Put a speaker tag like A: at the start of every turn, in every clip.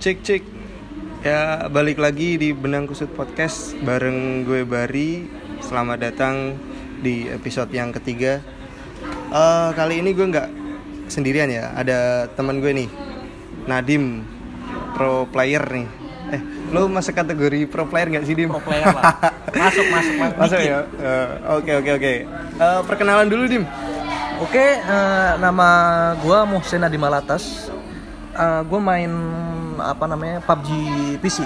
A: cek cek ya balik lagi di benang kusut podcast bareng gue Bari selamat datang di episode yang ketiga Eh, kali ini gue nggak sendirian ya ada teman gue nih Nadim pro player nih eh lo masuk kategori pro player nggak sih Dim
B: pro player lah masuk masuk masuk,
A: masuk
B: dikit.
A: ya Eh, oke oke oke Eh, perkenalan dulu Dim
B: oke eh, nama gua Muhsin Adi Malatas Eh, gua main apa namanya PUBG PC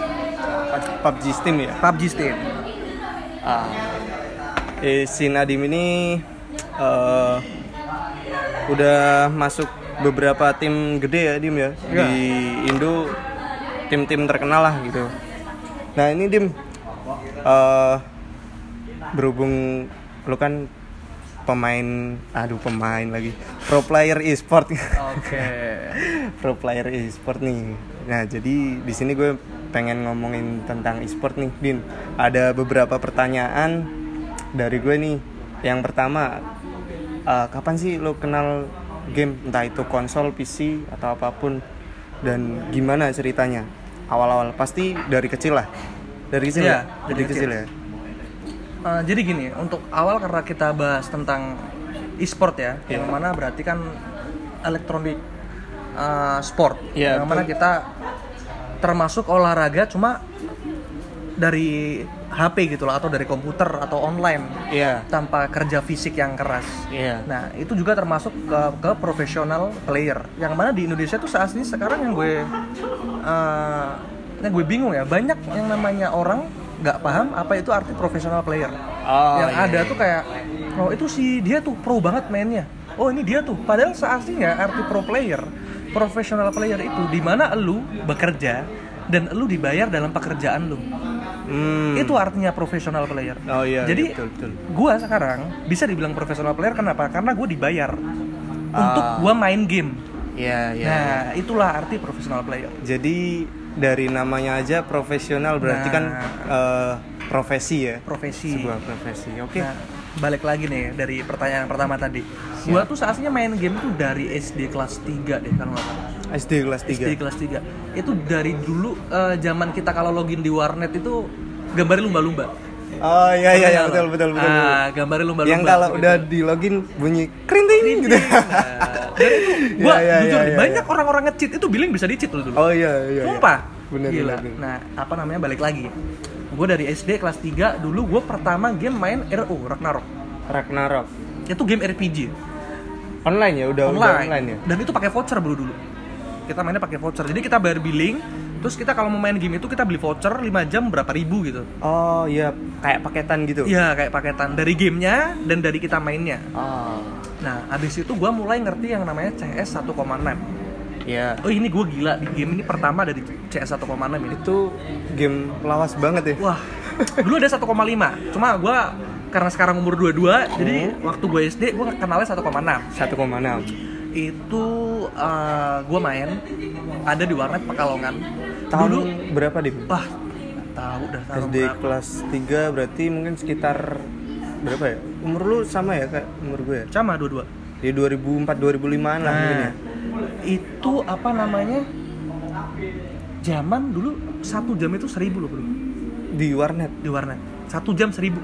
A: PUBG Steam ya
B: PUBG Steam
A: Ah. Eh, si Nadim ini eh, udah masuk beberapa tim gede ya Dim ya di Indo tim-tim terkenal lah gitu. Nah ini Dim eh, berhubung lu kan pemain aduh pemain lagi pro player e-sport
B: oke
A: pro player e-sport nih. Nah, jadi di sini gue pengen ngomongin tentang e-sport nih, Din. Ada beberapa pertanyaan dari gue nih. Yang pertama, eh, kapan sih lo kenal game entah itu konsol, PC atau apapun dan gimana ceritanya? Awal-awal pasti dari kecil lah. Dari kecil
B: Iya,
A: ya? Dari kecil, ya.
B: Eh, jadi gini untuk awal karena kita bahas tentang e-sport ya yang mana berarti kan elektronik eh, sport
A: Iya,
B: yang mana kita termasuk olahraga cuma dari HP gitu loh atau dari komputer atau online
A: Iya.
B: tanpa kerja fisik yang keras.
A: Iya.
B: Nah, itu juga termasuk ke, ke profesional player. Yang mana di Indonesia tuh saat ini sekarang yang gue eh, yang gue bingung ya, banyak yang namanya orang nggak paham apa itu arti profesional player.
A: Oh,
B: yang
A: iya,
B: ada tuh kayak oh itu si dia tuh pro banget mainnya. Oh, ini dia tuh. Padahal seaslinya arti pro player, profesional player itu di mana lu bekerja dan lu dibayar dalam pekerjaan lu
A: Hmm.
B: itu artinya profesional player.
A: Oh, iya, iya,
B: Jadi
A: betul, betul.
B: gua sekarang bisa dibilang profesional player kenapa? Karena gue dibayar untuk
A: Ah.
B: gua main game.
A: Iya, iya.
B: nah itulah arti profesional player.
A: Jadi dari namanya aja profesional berarti
B: Nah.
A: kan eh, profesi ya.
B: Profesi.
A: sebuah profesi. Oke.
B: Nah, balik lagi nih dari pertanyaan pertama tadi. Gua tuh saatnya main game tuh dari SD kelas 3 deh kalau nggak salah.
A: SD kelas
B: SD
A: 3.
B: kelas 3. Itu dari dulu eh, zaman kita kalau login di warnet itu gambarnya lumba-lumba.
A: Oh iya iya iya,
B: Kenal?
A: betul betul betul. betul.
B: Ah, gambarnya lumba-lumba.
A: Yang kalau
B: gitu.
A: udah di login bunyi krinting gitu.
B: Eh, Dan itu gua
A: Ya, ya,
B: jujur
A: ya, ya,
B: banyak orang-orang ngecit itu billing bisa dicit loh dulu.
A: Oh iya iya. iya.
B: Sumpah.
A: Bener
B: Gila.
A: bener. bener.
B: Nah, apa namanya balik lagi. Gue dari SD kelas 3 dulu gue pertama game main RO Ragnarok.
A: Ragnarok.
B: Itu game RPG
A: Online ya udah udah
B: online.
A: online ya.
B: Dan itu pakai voucher bro dulu. Kita mainnya pakai voucher. Jadi kita bayar billing, terus kita kalau mau main game itu kita beli voucher 5 jam berapa ribu gitu.
A: Oh iya kayak paketan gitu.
B: Iya, kayak paketan dari gamenya dan dari kita mainnya.
A: Oh.
B: Nah, abis itu gue mulai ngerti yang namanya CS 1,6.
A: Iya.
B: Oh ini gue gila di game ini pertama dari CS 1,6 ini.
A: Itu game lawas banget ya.
B: Wah, dulu ada 1,5. Cuma gue karena sekarang umur 22, jadi waktu gue SD gue kenalnya 1,6.
A: 1,6.
B: Itu gue main ada di warnet Pekalongan.
A: Tahun
B: Dulu,
A: berapa deh?
B: wah, nggak tahu dah tahun
A: SD
B: berapa.
A: kelas 3 berarti mungkin sekitar berapa ya? Umur lu sama ya kayak umur gue ya?
B: Sama dua-dua.
A: Di 2004 2005-an lah mungkin ya.
B: Nah, itu apa namanya? Zaman dulu satu jam itu seribu loh bro
A: Di warnet.
B: di warnet. Satu jam seribu,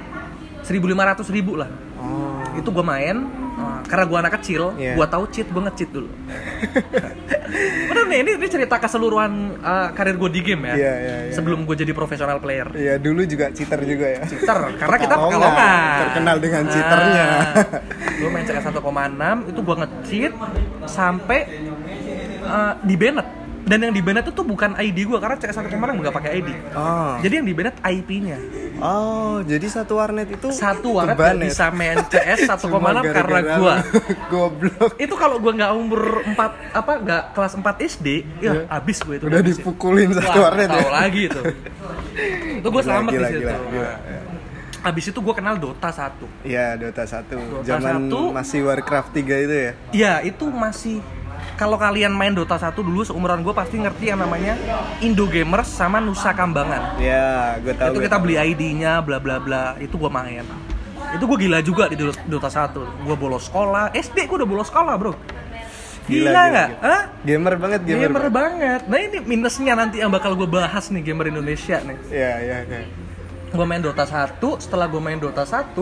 B: seribu lima ratus ribu lah.
A: Oh.
B: itu gue main eh, karena gue anak kecil
A: Iya.
B: gue tahu cheat gue nge-cheat dulu bener nih ini, ini cerita keseluruhan eh, karir gue di game ya
A: Iya, iya, iya.
B: sebelum gue jadi profesional player
A: Iya, dulu juga cheater juga ya.
B: cheater karena kita
A: Pekalongan,
B: pekalongan
A: terkenal dengan cheaternya.
B: gue main CS 1,6 itu gue nge-cheat sampai eh, di banned dan yang di banned itu tuh bukan ID gue karena CS 1,6 nggak pakai ID
A: Oh.
B: jadi yang di banned IP-nya
A: Oh, jadi satu warnet itu
B: satu warnet
A: keban ya?
B: nggak bisa main CS 1,6
A: Cuma
B: karena
A: gara-gara
B: gue
A: lu goblok
B: itu kalau gua nggak umur 4 apa nggak kelas 4 SD ya abis gue itu
A: Iya. udah
B: abis ya.
A: dipukulin satu
B: Wah,
A: warnet
B: tahu
A: ya.
B: lagi itu itu gue
A: Gila,
B: selamat
A: gila,
B: di situ
A: gila, gila.
B: Nah, abis itu gue kenal Dota 1
A: Iya, Dota 1.
B: Dota
A: Zaman
B: 1.
A: masih Warcraft 3 itu ya.
B: ya itu masih kalau kalian main Dota 1 dulu seumuran gue pasti ngerti yang namanya Indo Gamers sama Nusa Kambangan
A: Iya, gue tahu.
B: itu
A: gua
B: kita beli ID-nya bla bla bla itu gue main itu gue gila juga di Dota 1 gue bolos sekolah SD gue udah bolos sekolah bro Gila nggak? Hah?
A: Gamer banget, gamer.
B: Gamer, banget. Nah ini minusnya nanti yang bakal gue bahas nih gamer Indonesia nih.
A: Iya, iya, iya.
B: Gue main Dota 1, setelah gue main Dota 1,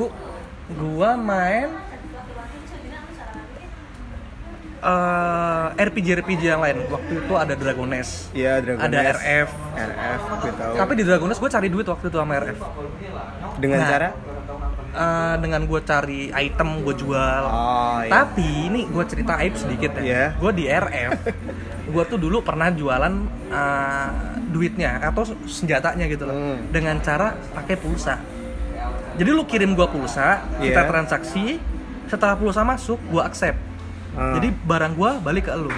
B: gue main eh RPG RPG yang lain. Waktu itu ada Dragon Nest,
A: Iya, Dragon
B: ada
A: Nest.
B: RF.
A: RF, gue tahu.
B: Tapi di Dragon Nest gue cari duit waktu itu sama RF.
A: Dengan
B: Nah.
A: cara
B: Eh, dengan gue cari item gue jual.
A: Oh, iya.
B: Tapi ini gue cerita aib sedikit ya.
A: Iya.
B: Gue di RF, gue tuh dulu pernah jualan eh, duitnya atau senjatanya gitu loh,
A: Hmm.
B: dengan cara pakai pulsa. Jadi lu kirim gue pulsa,
A: Iya.
B: kita transaksi, setelah pulsa masuk gue accept.
A: Hmm.
B: Jadi barang gue balik ke lu.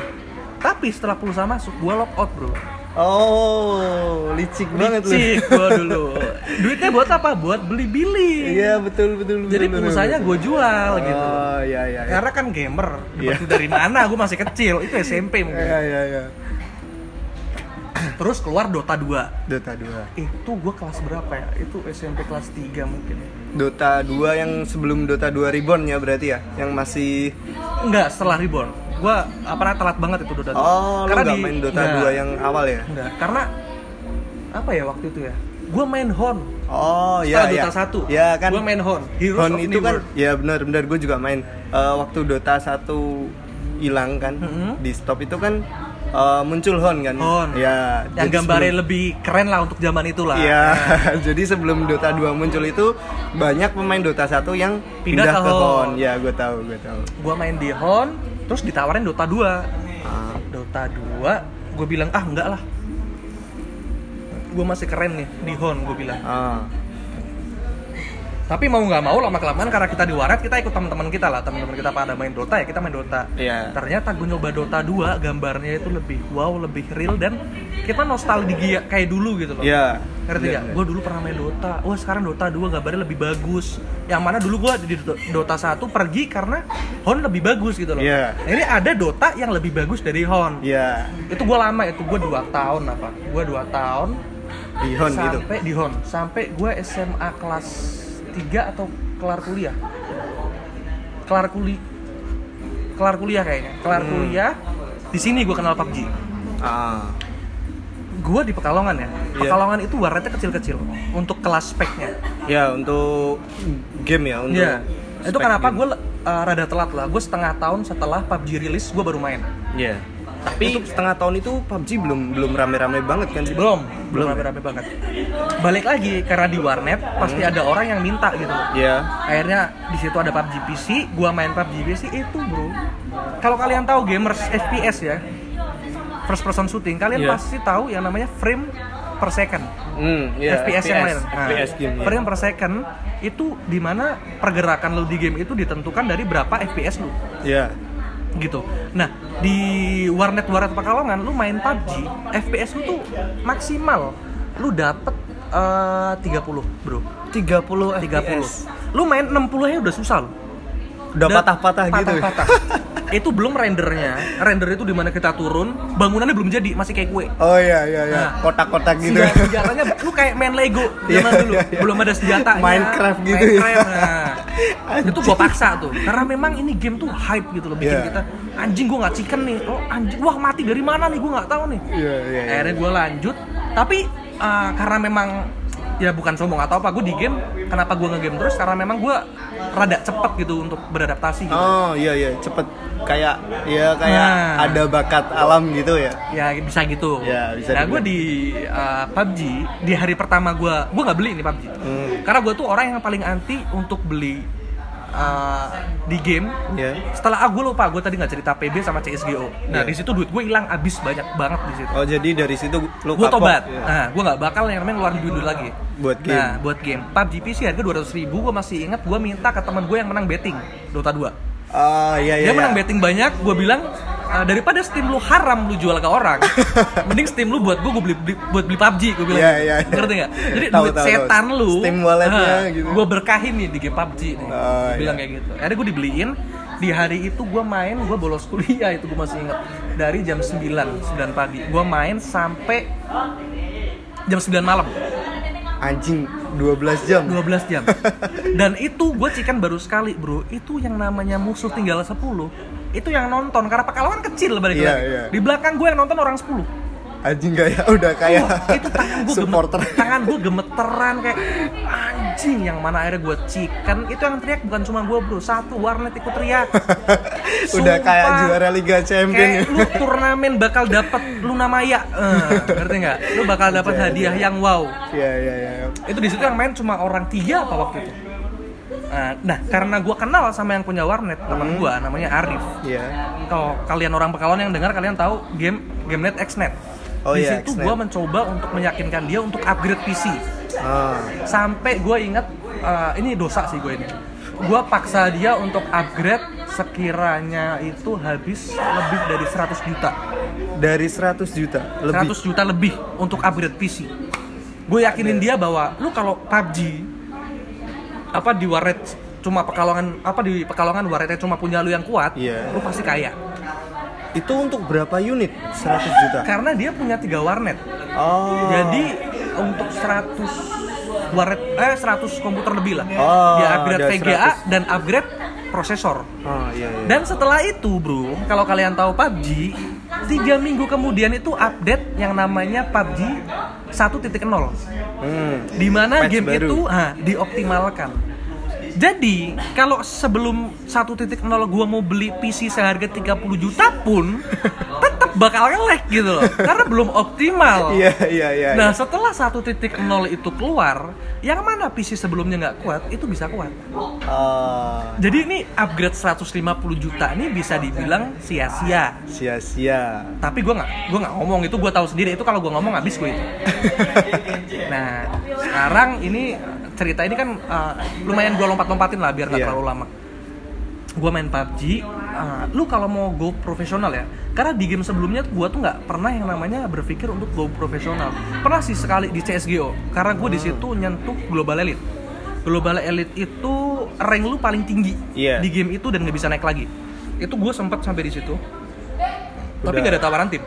B: Tapi setelah pulsa masuk gue lock out bro.
A: Oh, licik, banget lu.
B: Licik gue dulu. Duitnya buat apa? Buat beli billing.
A: Iya, betul, betul, betul.
B: Jadi
A: betul,
B: pulsanya
A: betul.
B: gue jual gitu.
A: Oh, iya, iya. iya.
B: Karena kan gamer,
A: Iya.
B: Dapat dari mana? Gue masih kecil, itu SMP mungkin.
A: Iya, iya, iya.
B: Terus keluar Dota 2
A: Dota 2.
B: Itu gue kelas berapa ya? Itu SMP kelas 3 mungkin
A: Dota 2 yang sebelum Dota 2 Reborn ya berarti ya, yang masih
B: Enggak, setelah Reborn Gue apa namanya telat banget itu Dota 2
A: Oh, lu nggak
B: di- Nah.
A: main Dota
B: Nggak,
A: 2 yang awal ya?
B: nggak. Karena Apa ya waktu itu ya? Gue main Horn
A: Oh,
B: Setelah
A: iya, iya.
B: Dota 1
A: Ya kan.
B: Gue main Horn Heroes
A: Hon
B: of
A: itu
B: New
A: kan,
B: World.
A: ya benar benar gue juga main. Eh, waktu Dota 1 hilang kan,
B: Mhm.
A: di stop itu kan eh, muncul Hon kan.
B: Horn
A: Ya. jadi
B: Yang gambarnya
A: sebelum-
B: lebih keren lah untuk zaman itulah
A: Iya, jadi sebelum Dota 2 muncul itu banyak pemain Dota 1 yang pindah,
B: Pindah ke
A: ke Hon.
B: Hon.
A: Ya, gue tahu, gue tahu.
B: Gue main di Horn Terus ditawarin Dota 2
A: Ah,
B: Dota 2 gue bilang ah enggak lah gue masih keren nih di Hon gue bilang
A: Ah, ah.
B: tapi mau nggak mau lama kelamaan karena kita di waret kita ikut teman-teman kita lah teman-teman kita pada main Dota ya kita main Dota
A: Iya.
B: ternyata gue nyoba Dota 2 gambarnya itu lebih wow lebih real dan kita nostalgia kayak dulu gitu loh
A: Iya.
B: ngerti
A: Benar,
B: gak?
A: benar.
B: Gue dulu pernah main Dota. Wah sekarang Dota 2 gambarnya lebih bagus. Yang mana dulu gue di Do- Dota 1 pergi karena Hon lebih bagus gitu loh.
A: Iya.
B: Nah, ini ada Dota yang lebih bagus dari Hon.
A: Iya.
B: Itu gue lama itu gue 2 tahun apa? Gue 2 tahun
A: Di Hon gitu.
B: sampai di Hon sampai gue SMA kelas 3 atau kelar kuliah. Kelar kuliah kelar kuliah kayaknya. Kelar
A: Hmm.
B: kuliah di sini gue kenal PUBG.
A: Ah.
B: Gue di Pekalongan ya.
A: Iya.
B: Pekalongan itu warnetnya kecil-kecil untuk kelas speknya.
A: Ya, untuk game ya, untuk
B: Iya. Itu
A: spek gitu.
B: kenapa
A: game.
B: gue rada telat lah. Gue setengah tahun setelah PUBG rilis gue baru main.
A: Iya. Tapi setengah tahun itu PUBG belum belum rame-rame banget kan?
B: belum belum
A: Belum.
B: rame-rame banget balik lagi karena di warnet pasti
A: Hmm.
B: ada orang yang minta gitu
A: Iya.
B: akhirnya di situ ada PUBG PC gua main PUBG PC itu bro kalau kalian tahu gamers FPS ya first person shooting kalian
A: Iya.
B: pasti tahu yang namanya frame per second
A: Hmm, iya.
B: FPS, yang lain Nah,
A: FPS game. ya.
B: frame per second itu dimana pergerakan lo di game itu ditentukan dari berapa FPS lo
A: Iya.
B: gitu. Nah, di warnet warnet Pekalongan lu main PUBG, FPS lu tuh maksimal lu dapet eh, 30, Bro.
A: 30
B: Lu main 60 nya udah susah lu.
A: Udah
B: Da-
A: patah-patah gitu. ya?
B: patah-patah. itu belum rendernya. Render itu dimana kita turun, bangunannya belum jadi, masih kayak kue.
A: Oh iya iya iya.
B: Nah.
A: Kotak-kotak gitu.
B: Senjata- senjatanya lu kayak main Lego zaman
A: Iya,
B: dulu
A: iya, iya.
B: belum ada senjatanya
A: Minecraft gitu ya.
B: Minecraft, nah.
A: Anjing.
B: itu gua paksa tuh karena memang ini game tuh hype gitu loh bikin
A: Iya.
B: kita anjing gua nggak chicken nih oh anjing wah mati dari mana nih gua nggak tahu nih
A: Iya iya. iya.
B: akhirnya gua lanjut tapi eh, karena memang ya bukan sombong atau apa gua di game kenapa gua nge-game terus karena memang gua rada cepet gitu untuk beradaptasi gitu.
A: Oh iya iya cepet kayak ya kayak
B: Nah.
A: ada bakat alam gitu ya.
B: ya bisa gitu
A: Ya, bisa
B: nah gue
A: dibilang.
B: di uh, PUBG di hari pertama gue gue nggak beli ini PUBG
A: Hmm.
B: karena gue tuh orang yang paling anti untuk beli uh, di game
A: Iya.
B: setelah ah gue lupa gue tadi nggak cerita PB sama CSGO
A: Iya.
B: nah di situ duit gue hilang abis banyak banget di situ
A: Oh jadi dari situ lu
B: gue
A: kapok.
B: tobat
A: Iya.
B: nah gue nggak bakal yang namanya ngeluarin duit dulu lagi
A: Buat game.
B: nah buat game PUBG PC harga 200.000 ribu gue masih ingat gue minta ke teman gue yang menang betting Dota 2
A: Oh iya iya.
B: dia
A: iya.
B: menang betting banyak, gue bilang "Ah, daripada steam lu haram lu jual ke orang, mending steam lu buat gue gue beli, beli- buat beli PUBG gue bilang,
A: Iya, iya, iya.
B: ngerti nggak? Jadi
A: Tahu,
B: duit
A: tahu, tahu.
B: setan lu,
A: Steam wallet-nya gitu.
B: gue berkahin nih di game PUBG nih,
A: Oh,
B: Gua
A: iya.
B: bilang kayak gitu. Akhirnya gue dibeliin di hari itu gue main, gue bolos kuliah itu gue masih inget dari jam 9, 9 pagi, gue main sampai jam 9 malam,
A: Anjing 12 jam.
B: 12 jam. Dan itu gue chicken baru sekali bro, itu yang namanya musuh tinggal 10 itu yang nonton karena pahlawan kecil balik
A: Iya,
B: lagi.
A: iya.
B: Di belakang gue yang nonton orang 10.
A: anjing gak ya udah kayak
B: itu tangan gue
A: supporter
B: tangan gue gemeteran kayak anjing yang mana akhirnya gue chicken itu yang teriak bukan cuma gue bro satu warnet ikut teriak
A: udah kayak
B: Sumpah.
A: juara Liga Champion ya.
B: kayak lu turnamen bakal dapat Luna Maya Eh, ngerti nggak lu bakal dapat hadiah yang wow
A: Iya iya iya.
B: itu di situ yang main cuma orang tiga apa waktu itu Eh, nah karena gue kenal sama yang punya warnet
A: Hmm.
B: teman gue namanya Arif
A: Iya.
B: kalau kalian orang Pekalongan yang dengar kalian tahu game GameNet XNet
A: Oh
B: di
A: iya,
B: situ
A: XNet.
B: gue mencoba untuk meyakinkan dia untuk upgrade PC
A: Ah.
B: sampai gue inget eh, ini dosa sih gue ini gue paksa dia untuk upgrade sekiranya itu habis lebih dari 100 juta
A: Dari 100 juta lebih.
B: 100 juta lebih untuk upgrade PC gue
A: Iya.
B: yakinin dia bahwa lu kalau PUBG apa di warnet cuma pekalongan apa di pekalongan warnetnya cuma punya lu yang kuat
A: Iya.
B: lu pasti kaya
A: Itu untuk berapa unit? 100 juta.
B: karena dia punya tiga warnet
A: Oh.
B: Jadi untuk 100 waret eh 100 komputer lebih lah.
A: Oh,
B: dia upgrade
A: ada
B: VGA dan upgrade prosesor.
A: Oh iya iya.
B: Dan setelah itu, Bro, kalau kalian tahu PUBG, tiga minggu kemudian itu update yang namanya PUBG 1.0.
A: Hmm.
B: Di mana
A: Patch
B: game
A: baru.
B: itu ah, dioptimalkan. Jadi, kalau sebelum 1.0 gua mau beli PC seharga 30 juta pun tetap bakal nge-lag gitu loh. Karena belum optimal.
A: Iya iya iya.
B: Nah setelah 1.0 itu keluar, yang mana PC sebelumnya nggak kuat itu bisa kuat.
A: Ah,
B: Jadi ini upgrade 150 juta ini bisa dibilang sia-sia.
A: sia-sia.
B: Tapi gue nggak, gue nggak ngomong itu gue tahu sendiri itu kalau gue ngomong habis gue. itu. Nah sekarang ini cerita ini kan uh, lumayan gue lompat-lompatin lah biar nggak
A: Iya.
B: terlalu lama. Gue main PUBG, uh, lu kalau mau go profesional ya, karena di game sebelumnya gue tuh nggak pernah yang namanya berpikir untuk go profesional. Pernah sih sekali di CS:GO, karena gue di situ
A: Hmm.
B: nyentuh global elite. Global elite itu rank lu paling tinggi
A: Iya.
B: di game itu dan nggak bisa naik lagi. Itu gue sempet sampai di situ, tapi
A: Udah.
B: nggak ada tawaran tim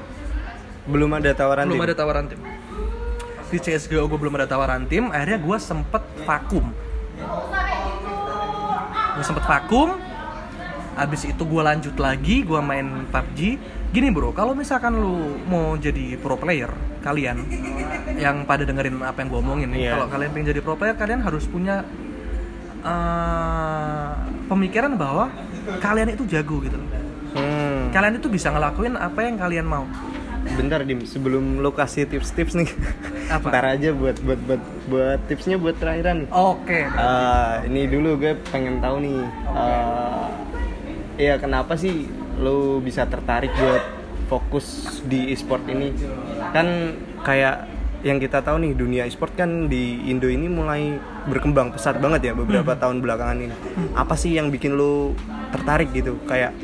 A: Belum ada tawaran
B: belum
A: tim?
B: ada tawaran tim di CSGO gue belum ada tawaran tim akhirnya gue sempet vakum gue sempet vakum abis itu gue lanjut lagi gue main PUBG gini bro kalau misalkan lu mau jadi pro player kalian yang pada dengerin apa yang gue omongin nih
A: Iya.
B: kalau kalian pengen jadi pro player kalian harus punya eh, pemikiran bahwa kalian itu jago gitu loh.
A: Hmm.
B: kalian itu bisa ngelakuin apa yang kalian mau
A: Bentar Dim, sebelum lo kasih tips-tips nih.
B: Apa?
A: Ntar aja buat buat buat buat tipsnya buat terakhiran.
B: oke
A: Eh, ini dulu gue pengen tahu nih. eh, ya kenapa sih lo bisa tertarik buat fokus di e-sport ini? Kan kayak yang kita tahu nih dunia e-sport kan di Indo ini mulai berkembang pesat banget ya beberapa tahun belakangan ini. Apa sih yang bikin lo tertarik gitu? Kayak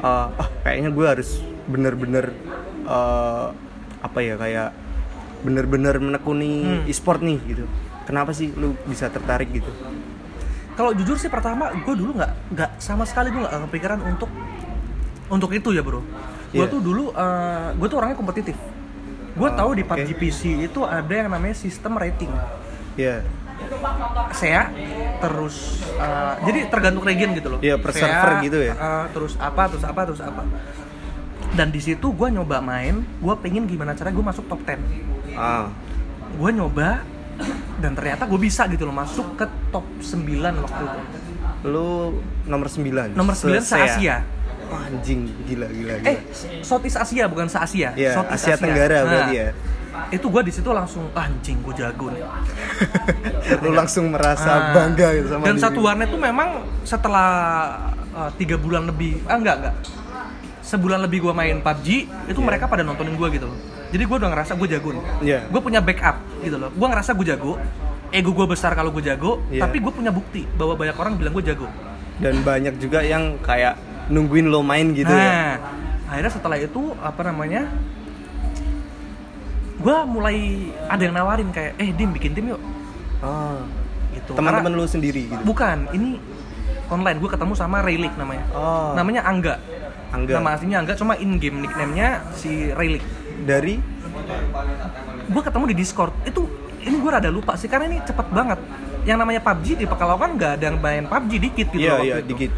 A: eh, ah kayaknya gue harus bener-bener eh, apa ya kayak bener-bener
B: Hmm.
A: menekuni e-sport nih gitu kenapa sih lu bisa tertarik gitu
B: kalau jujur sih pertama gue dulu nggak nggak sama sekali gue nggak kepikiran untuk untuk itu ya bro gue
A: Iya.
B: tuh dulu gue tuh orangnya kompetitif gue
A: Oh,
B: tahu di
A: oke.
B: PUBG PC itu ada yang namanya sistem rating
A: ya
B: saya terus eh, jadi tergantung region gitu loh
A: Iya, per
B: Saya,
A: server gitu ya.
B: eh, terus apa terus apa terus apa dan di situ gue nyoba main gue pengen gimana cara gue masuk top 10
A: ah
B: gue nyoba dan ternyata gue bisa gitu loh masuk ke top 9 waktu itu
A: lu nomor 9
B: nomor 9 se Asia
A: anjing gila gila gila
B: eh Southeast Asia bukan se Asia
A: Iya,
B: Southeast
A: Asia Tenggara berarti ya.
B: itu gue di situ langsung "Ah, anjing gue jago nih
A: lu langsung merasa
B: Ah.
A: bangga gitu sama
B: dan
A: diri.
B: satu warnet tuh memang setelah eh, tiga bulan lebih ah enggak enggak sebulan lebih gue main PUBG itu mereka pada nontonin gue gitu loh jadi gue udah ngerasa gue jago nih
A: Iya.
B: gue punya backup gitu loh gue ngerasa gue jago ego gue besar kalau gue jago
A: Iya.
B: tapi gue punya bukti bahwa banyak orang bilang gue jago
A: dan banyak juga yang kayak nungguin lo main gitu ya
B: nah, akhirnya setelah itu apa namanya? Gua mulai ada yang nawarin kayak, "Eh, Dim, bikin tim yuk."
A: ah
B: Gitu.
A: teman-teman lu
B: Karena-
A: sendiri gitu
B: Bukan, ini online. Gue ketemu sama Relic namanya.
A: Oh.
B: Namanya Angga.
A: Angga.
B: Nama aslinya Angga, cuma in game nickname-nya si Relic.
A: dari
B: Gue ketemu di Discord. Itu ini gue rada lupa sih karena ini cepet banget. Yang namanya PUBG di Pekalongan nggak ada yang main PUBG dikit gitu
A: Iya,
B: loh waktu
A: iya,
B: itu.
A: dikit.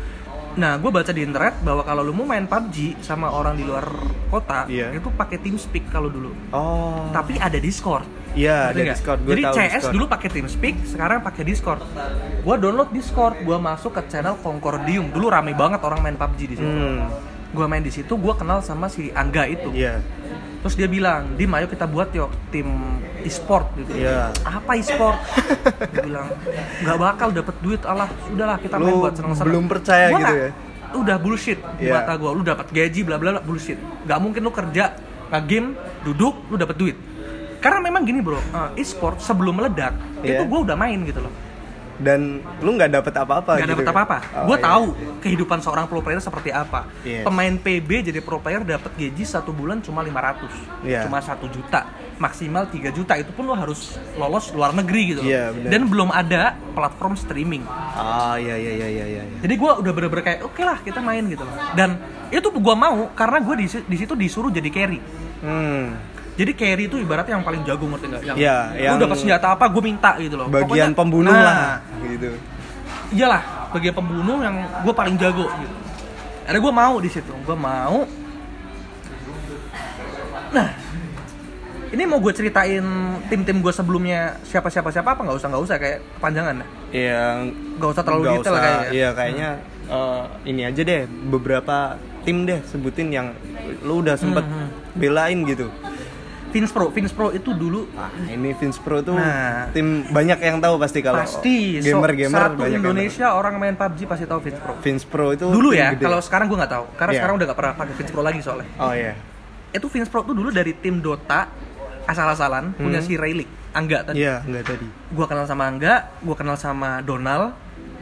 B: Nah, gue baca di internet bahwa kalau lu mau main PUBG sama orang di luar kota,
A: Iya.
B: itu pakai TeamSpeak kalau dulu.
A: Oh.
B: Tapi ada Discord.
A: Iya,
B: Ngerti
A: ada
B: nggak?
A: Discord. Gua
B: Jadi
A: tahu
B: CS
A: Discord.
B: dulu pakai TeamSpeak, sekarang pakai Discord. Gua download Discord, gua masuk ke channel Concordium. Dulu rame banget orang main PUBG di situ.
A: Hmm.
B: Gua main di situ, gua kenal sama si Angga itu.
A: Iya.
B: Terus dia bilang, "Dim, ayo kita buat yuk tim e-sport gitu."
A: Iya.
B: Apa e-sport? Gua bilang, "Nggak bakal dapet duit, alah, sudahlah kita main
A: Lu
B: buat seneng-seneng."
A: belum percaya
B: Gua
A: gitu
B: nggak-
A: ya?
B: Udah bullshit di
A: Iya.
B: mata gua. Lu dapat gaji bla bla bla bullshit. Gak mungkin lu kerja, game, duduk, lu dapat duit. Karena memang gini, Bro. eh, e-sport sebelum meledak,
A: Iya.
B: itu gua udah main gitu loh.
A: Dan lu nggak dapet apa-apa
B: Gak
A: gitu.
B: dapet
A: ya?
B: apa-apa.
A: Oh,
B: Gue
A: iya.
B: tahu kehidupan seorang pro player seperti apa.
A: Yes.
B: Pemain PB jadi pro player dapat gaji satu bulan cuma 500.
A: Iya.
B: Cuma 1 juta. Maksimal 3 juta. Itu pun lo harus lolos luar negeri gitu. loh.
A: Iya, benar.
B: Dan belum ada platform streaming.
A: Ah, iya iya iya iya iya.
B: Jadi gue udah bener-bener kayak oke lah kita main gitu loh. Dan itu gue mau karena gue di, di situ disuruh jadi carry.
A: Hmm.
B: Jadi carry itu ibaratnya yang paling jago ngerti nggak? Yang,
A: Iya, yang-
B: lu dapat senjata apa gue minta gitu loh.
A: Bagian
B: Pokoknya-
A: pembunuh
B: Nah,
A: lah gitu.
B: iyalah bagi pembunuh yang gue paling jago gitu. Ada gue mau di situ, gue mau. Nah, ini mau gue ceritain tim-tim gue sebelumnya siapa siapa siapa apa nggak usah nggak usah kayak kepanjangan. ya. dah.
A: Yang
B: Nggak usah terlalu
A: Iya, nggak
B: detail
A: usah-
B: kayaknya.
A: Iya, kayaknya eh, ini aja deh beberapa tim deh sebutin yang lu udah sempet
B: Hmm,
A: belain gitu.
B: Vince Pro, Vince Pro itu dulu
A: Ah, ini Vince Pro tuh
B: Nah.
A: tim banyak yang tahu pasti kalau
B: pasti so-
A: gamer-gamer
B: satu
A: banyak yang tahu.
B: Indonesia orang main PUBG pasti tahu Vince Pro.
A: Vince Pro itu
B: Dulu
A: tim
B: ya,
A: gede.
B: kalau sekarang gue nggak tahu, karena
A: Iya.
B: sekarang udah nggak pernah pakai Vince Pro lagi soalnya.
A: Oh iya.
B: Itu Vince Pro tuh dulu dari tim Dota asal-asalan punya
A: Hmm.
B: si Raylik, Angga tadi.
A: Iya, enggak tadi.
B: gue kenal sama Angga, gue kenal sama Donald,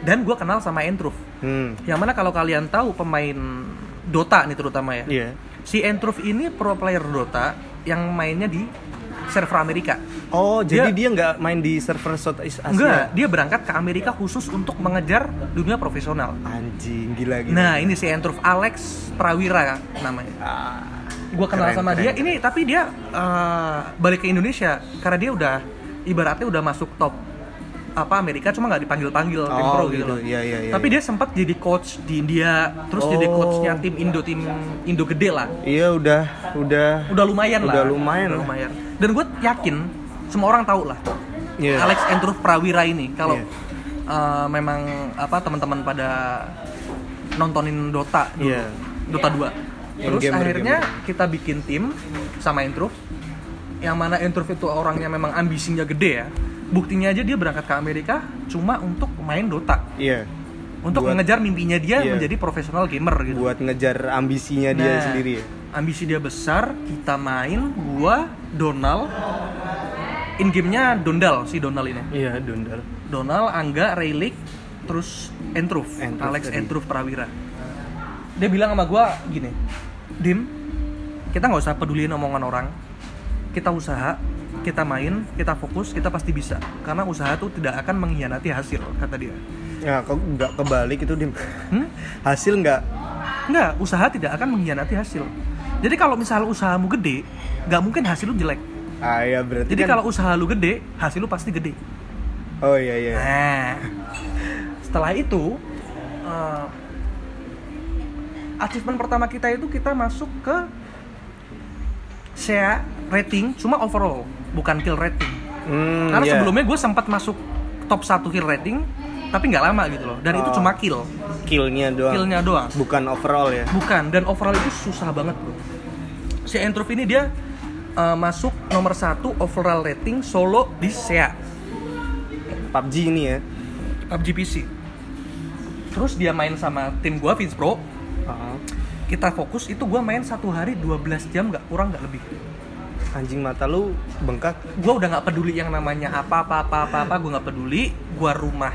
B: dan gue kenal sama Entruf.
A: Hmm.
B: Yang mana kalau kalian tahu pemain Dota nih terutama ya.
A: Iya.
B: Si Entruf ini pro player Dota yang mainnya di server Amerika.
A: Oh, jadi
B: Dia-
A: dia nggak main di server Southeast Asia.
B: Enggak, dia berangkat ke Amerika khusus untuk mengejar dunia profesional.
A: Iya. Anjing, gila gitu. gila.
B: Nah, ini si Entruf Alex Prawira namanya.
A: Ah,
B: Gue kenal
A: Keren,
B: sama
A: keren,
B: dia. Ini tapi dia eh, balik ke Indonesia karena dia udah ibaratnya udah masuk top apa Amerika cuma nggak dipanggil-panggil tim
A: Oh,
B: pro
A: gitu.
B: gitu loh.
A: Iya, iya, iya,
B: Tapi
A: iya.
B: dia sempat jadi coach di India, terus jadi
A: Oh.
B: coachnya tim Indo tim Indo gede lah.
A: iya udah, udah.
B: Udah lumayan lah.
A: Udah lumayan
B: Udah
A: lah.
B: lumayan. Dan gue yakin semua orang tahu lah.
A: Iya.
B: Alex Andrew Prawira ini kalau
A: Iya.
B: eh, memang apa teman-teman pada nontonin Dota dulu.
A: Iya.
B: Dota 2.
A: Yang
B: Ya. Terus
A: gamer,
B: akhirnya kita bikin tim sama Entruf yang mana Entruf itu orangnya memang ambisinya gede ya. Buktinya aja dia berangkat ke Amerika cuma untuk main Dota,
A: Iya.
B: untuk
A: Buat-
B: mengejar mimpinya dia
A: Iya.
B: menjadi profesional gamer gitu.
A: Buat ngejar ambisinya dia
B: Nah,
A: sendiri ya.
B: Ambisi dia besar, kita main gua Donald in gamenya Dondal si Donald ini.
A: Iya, Dondal.
B: Donald, Angga, Raylik, terus Entruf,
A: Entruf
B: Alex
A: tadi.
B: Entruf Prawira. Dia bilang sama gua gini, Dim, kita nggak usah peduliin omongan orang, kita usaha, kita main, kita fokus, kita pasti bisa. Karena usaha tuh tidak akan mengkhianati hasil, kata dia.
A: Ya, kok nggak kebalik itu dim.
B: Hmm?
A: Hasil nggak?
B: Nggak, usaha tidak akan mengkhianati hasil. Jadi kalau misal usahamu gede, nggak mungkin hasil lu jelek.
A: Ah ya berarti
B: Jadi
A: kan.
B: kalau usaha lu gede, hasil lu pasti gede.
A: Oh iya iya.
B: Nah, setelah itu eh, achievement pertama kita itu kita masuk ke SEA rating cuma overall, bukan kill rating.
A: Hmm,
B: Karena
A: iya.
B: sebelumnya gue sempat masuk top 1 kill rating, tapi nggak lama gitu loh. Dan itu
A: Oh.
B: cuma kill,
A: killnya doang.
B: killnya doang.
A: Bukan overall ya.
B: Bukan, dan overall itu susah banget bro. Si Entruf ini dia eh, masuk nomor satu overall rating solo di SEA.
A: PUBG ini ya.
B: PUBG PC. Terus dia main sama tim gua Vince Pro,
A: Ah,
B: kita fokus itu gua main satu hari 12 jam nggak kurang nggak lebih.
A: Ah, Anjing mata lu bengkak.
B: Gua udah nggak peduli yang namanya apa apa apa apa apa, gua nggak peduli. Gua rumah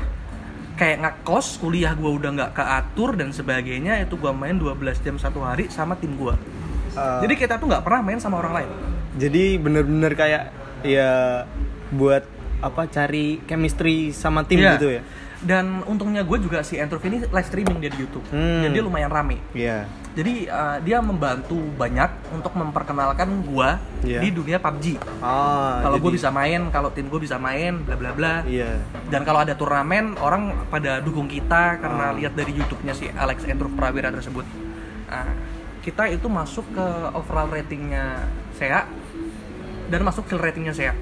B: kayak ngekos, kuliah gua udah nggak keatur dan sebagainya itu gua main 12 jam satu hari sama tim gua.
A: Ah,
B: Jadi kita tuh nggak pernah main sama orang lain.
A: jadi bener-bener kayak ya buat apa cari chemistry sama tim
B: Iya.
A: gitu ya.
B: Dan untungnya gue juga si Entruf ini live streaming dia di YouTube.
A: Hmm.
B: Dan dia lumayan rame.
A: Iya.
B: Jadi eh, dia membantu banyak untuk memperkenalkan gue
A: Iya.
B: di dunia PUBG.
A: Ah,
B: Kalau gue
A: jadi-
B: bisa main, kalau tim gue bisa main, bla bla bla.
A: Iya.
B: Dan kalau ada turnamen, orang pada dukung kita karena
A: Ah.
B: lihat dari YouTube-nya si Alex Andrew Prawira tersebut. Nah, kita itu masuk ke overall ratingnya SEA dan masuk kill ratingnya SEA.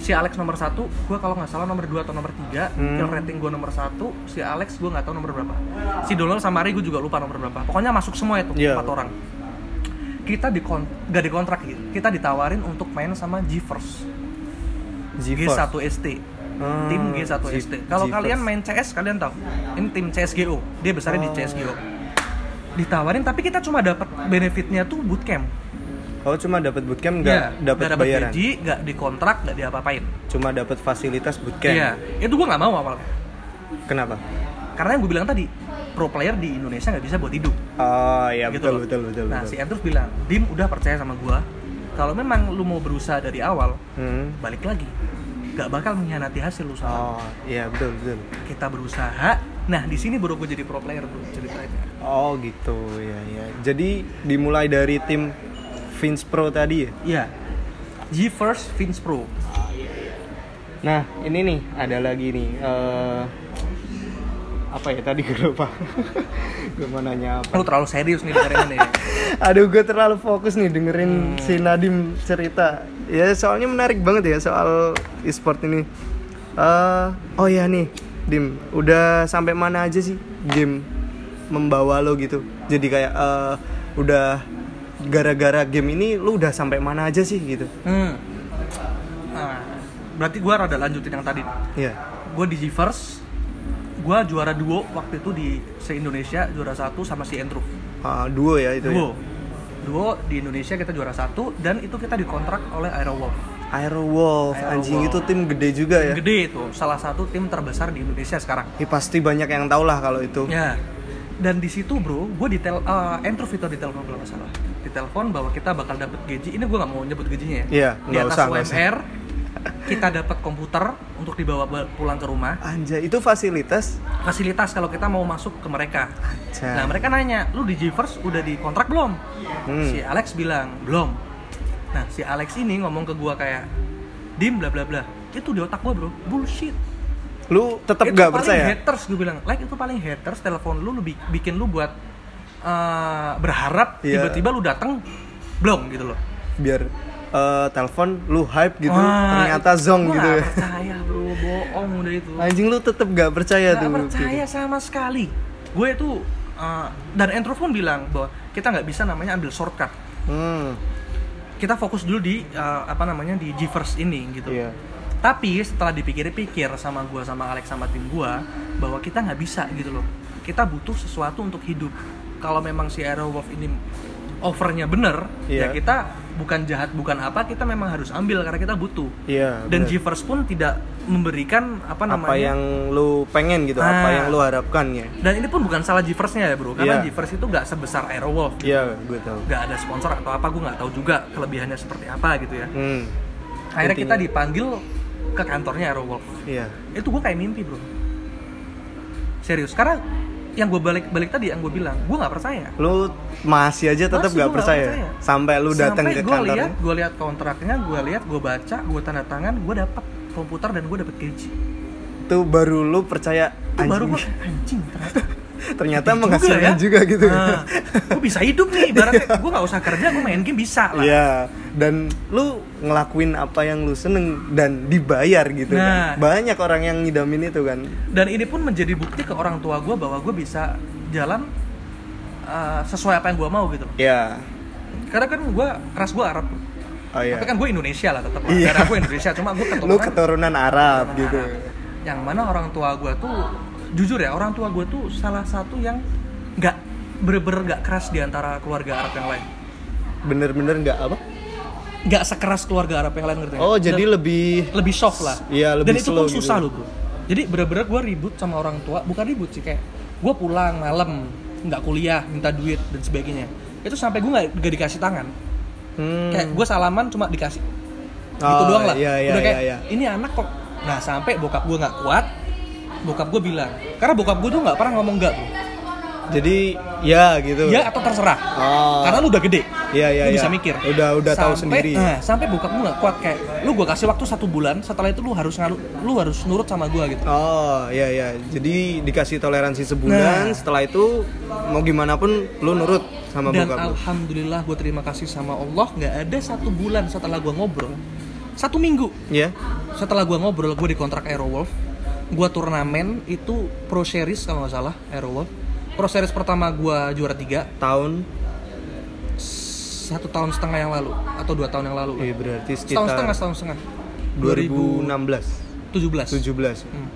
B: Si Alex nomor satu, gue kalau nggak salah nomor 2 atau nomor 3
A: Hmm.
B: Kill rating gue nomor satu, si Alex gue nggak tahu nomor berapa. Si Donald sama Ari gue juga lupa nomor berapa. Pokoknya masuk semua itu
A: Iya.
B: empat orang. Kita di kon gak dikontrak gitu. Kita ditawarin untuk main sama GeForce,
A: GeForce.
B: G1ST
A: Hmm,
B: tim G1ST.
A: G-
B: Kalau
A: GeForce.
B: kalian main CS kalian tahu, ini tim CS:GO. Dia besarnya
A: Oh.
B: di CS:GO. Ditawarin tapi kita cuma dapat benefitnya tuh bootcamp. Iya,
A: Kalau cuma dapat bootcamp nggak dapat
B: nggak
A: bayaran.
B: gaji, nggak dikontrak, nggak diapa-apain.
A: Cuma dapat fasilitas bootcamp.
B: Iya, itu gua nggak mau awalnya.
A: Kenapa?
B: Karena yang gue bilang tadi, pro player di Indonesia nggak bisa buat hidup.
A: Oh, ya
B: Gitu
A: betul,
B: loh.
A: betul betul
B: nah,
A: betul.
B: si Andrew bilang, Dim udah percaya sama gua. Kalau memang lu mau berusaha dari awal,
A: Hmm.
B: balik lagi. Gak bakal mengkhianati hasil usaha.
A: Oh, iya betul betul.
B: Kita berusaha. Nah, di sini baru gue jadi pro player tuh ceritanya.
A: Oh, gitu ya ya. Jadi dimulai dari tim Vince Pro tadi ya.
B: Iya. GeForce Vince Pro.
A: Nah, ini nih ada lagi nih eh, apa ya tadi gue lupa. gue mau nanya apa.
B: Lu terlalu serius nih dengerin ini.
A: Aduh, gue terlalu fokus nih
B: Hmm.
A: dengerin si Nadim cerita. Ya, soalnya menarik banget ya soal e-sport ini. Eh, oh ya nih, Dim, udah sampai mana aja sih game membawa lo gitu? Jadi kayak eh, udah gara-gara game ini lo udah sampai mana aja sih gitu?
B: Hmm. Nah, berarti gua rada lanjutin yang tadi.
A: Iya.
B: Gua di GeForce, gua juara duo waktu itu di se-Indonesia juara satu sama si Andrew.
A: Ah, duo ya itu.
B: Duo. Duo di Indonesia kita juara satu dan itu kita dikontrak oleh Aerowolf.
A: Ya. Aerowolf,
B: Aerowolf.
A: anjing itu tim gede juga ya.
B: Gede itu, salah satu tim terbesar di Indonesia sekarang.
A: Ya, pasti banyak yang tau lah kalau itu.
B: Ya. Dan di situ bro, gue detail, uh, Andrew Vito ditelepon kalau nggak salah. Ditelepon bahwa kita bakal dapat gaji. Ini gue nggak mau nyebut gajinya ya.
A: Iya,
B: di
A: nggak
B: atas
A: usah, nggak usah.
B: UMR, kita dapat komputer untuk dibawa ba- pulang ke rumah.
A: Anjay, itu fasilitas.
B: Fasilitas kalau kita mau masuk ke mereka.
A: Anjay.
B: Nah mereka nanya, lu di GeForce udah dikontrak belum?
A: Hmm.
B: Si Alex bilang belum. Nah si Alex ini ngomong ke gue kayak, dim bla bla bla. Itu di otak gue bro, bullshit
A: Lu tetap
B: itu
A: gak
B: paling
A: percaya?
B: haters gue bilang like itu paling haters telepon lu lu bi- bikin lu buat eh, berharap
A: Iya.
B: tiba-tiba lu datang belum gitu loh
A: biar eh, telepon lu hype gitu
B: Wah,
A: ternyata
B: itu-
A: zong
B: gua
A: gitu
B: nggak percaya bro bohong udah itu
A: anjing lu tetep gak percaya
B: nggak
A: tuh gitu.
B: percaya sama sekali gue tuh eh, dan Andrew pun bilang bahwa kita nggak bisa namanya ambil shortcut
A: hmm
B: kita fokus dulu di eh, apa namanya di GeForce ini gitu
A: iya
B: Tapi setelah dipikir-pikir sama gua sama Alex sama tim gua bahwa kita nggak bisa gitu loh. Kita butuh sesuatu untuk hidup. Kalau memang si Aerowolf ini offernya bener, ya
A: Iya.
B: kita bukan jahat bukan apa, kita memang harus ambil karena kita butuh.
A: iya
B: Dan
A: bener.
B: Givers pun tidak memberikan apa namanya.
A: apa yang lu pengen gitu apa
B: Ah.
A: yang lu harapkan ya
B: Dan ini pun bukan salah Giversnya ya bro, karena
A: Iya.
B: Givers itu nggak sebesar Aerowolf.
A: iya gue tau
B: Nggak ada sponsor atau apa, gue nggak tahu juga kelebihannya seperti apa gitu ya.
A: hmm
B: Akhirnya
A: Intinya.
B: kita dipanggil ke kantornya Aerowolf.
A: iya
B: itu gue kayak mimpi bro serius karena yang gue balik balik tadi yang gue bilang gue nggak percaya
A: lu masih aja tetep
B: Masih
A: gak
B: gua nggak
A: percaya
B: percaya.
A: sampai lu datang
B: sampai
A: ke
B: gue
A: kantor
B: lihat gue lihat kontraknya gue lihat gue baca gue tanda tangan gue dapet komputer dan gue dapet gaji
A: itu baru lu percaya
B: itu
A: anjing
B: baru gue anjing ternyata
A: ternyata menghasilkan
B: ya?
A: juga, gitu
B: Ah, gue bisa hidup nih ibaratnya gue nggak usah kerja gue main game bisa lah
A: Iya, dan lu ngelakuin apa yang lu seneng dan dibayar gitu kan.
B: Nah.
A: Banyak orang yang ngidamin itu kan.
B: dan ini pun menjadi bukti ke orang tua gue bahwa gue bisa jalan uh, sesuai apa yang gue mau gitu loh.
A: Iya.
B: karena kan gue ras gue Arab
A: Oh iya.
B: tapi kan gue Indonesia lah tetap
A: Iya.
B: karena gue Indonesia cuma gue
A: lu
B: keturunan
A: keturunan Arab gitu.
B: Nah, yang mana orang tua gue tuh jujur ya orang tua gue tuh salah satu yang nggak bener-bener nggak keras di antara keluarga Arab yang lain
A: Bener-bener nggak apa?
B: nggak sekeras keluarga Arab yang lain ngerti nggak?
A: Oh,
B: Dan
A: jadi lebih
B: lebih soft lah
A: Iya,
B: dan
A: lebih
B: itu
A: slow
B: pun susah
A: gitu.
B: loh bro jadi bener-bener gue ribut sama orang tua bukan ribut sih kayak gue pulang malam nggak kuliah minta duit dan sebagainya itu sampai gue nggak nggak dikasih tangan
A: hmm.
B: kayak gue salaman cuma dikasih gitu
A: Oh,
B: doang lah
A: Iya, iya,
B: udah kayak
A: iya, iya.
B: ini anak kok nah sampai bokap gue nggak kuat bokap gue bilang karena bokap gue tuh nggak pernah ngomong enggak tuh
A: Jadi ya gitu.
B: ya atau terserah
A: Oh.
B: karena lu udah gede
A: Iya, iya,
B: lu
A: iya.
B: bisa mikir
A: Udah udah tahu
B: Sampai-
A: sendiri.
B: nah, sampai bokap gue nggak kuat kayak lu gue kasih waktu satu bulan setelah itu lu harus ngalu- lu harus nurut sama gue gitu
A: Oh, ya ya. Jadi dikasih toleransi sebulan,
B: Nah.
A: setelah itu mau gimana pun lu nurut sama
B: dan
A: bokap lu.
B: alhamdulillah gue terima kasih sama Allah nggak ada satu bulan setelah gue ngobrol satu minggu
A: Ya.
B: setelah gue ngobrol gue dikontrak Aerowolf gue turnamen itu pro series kalau nggak salah Aerowolf pro series pertama gue juara tiga
A: Tahun
B: satu tahun setengah yang lalu atau dua tahun yang lalu lah.
A: ya berarti
B: setahun setengah
A: sekitar
B: setahun setengah
A: 2016,
B: 2017
A: 17.
B: Hmm.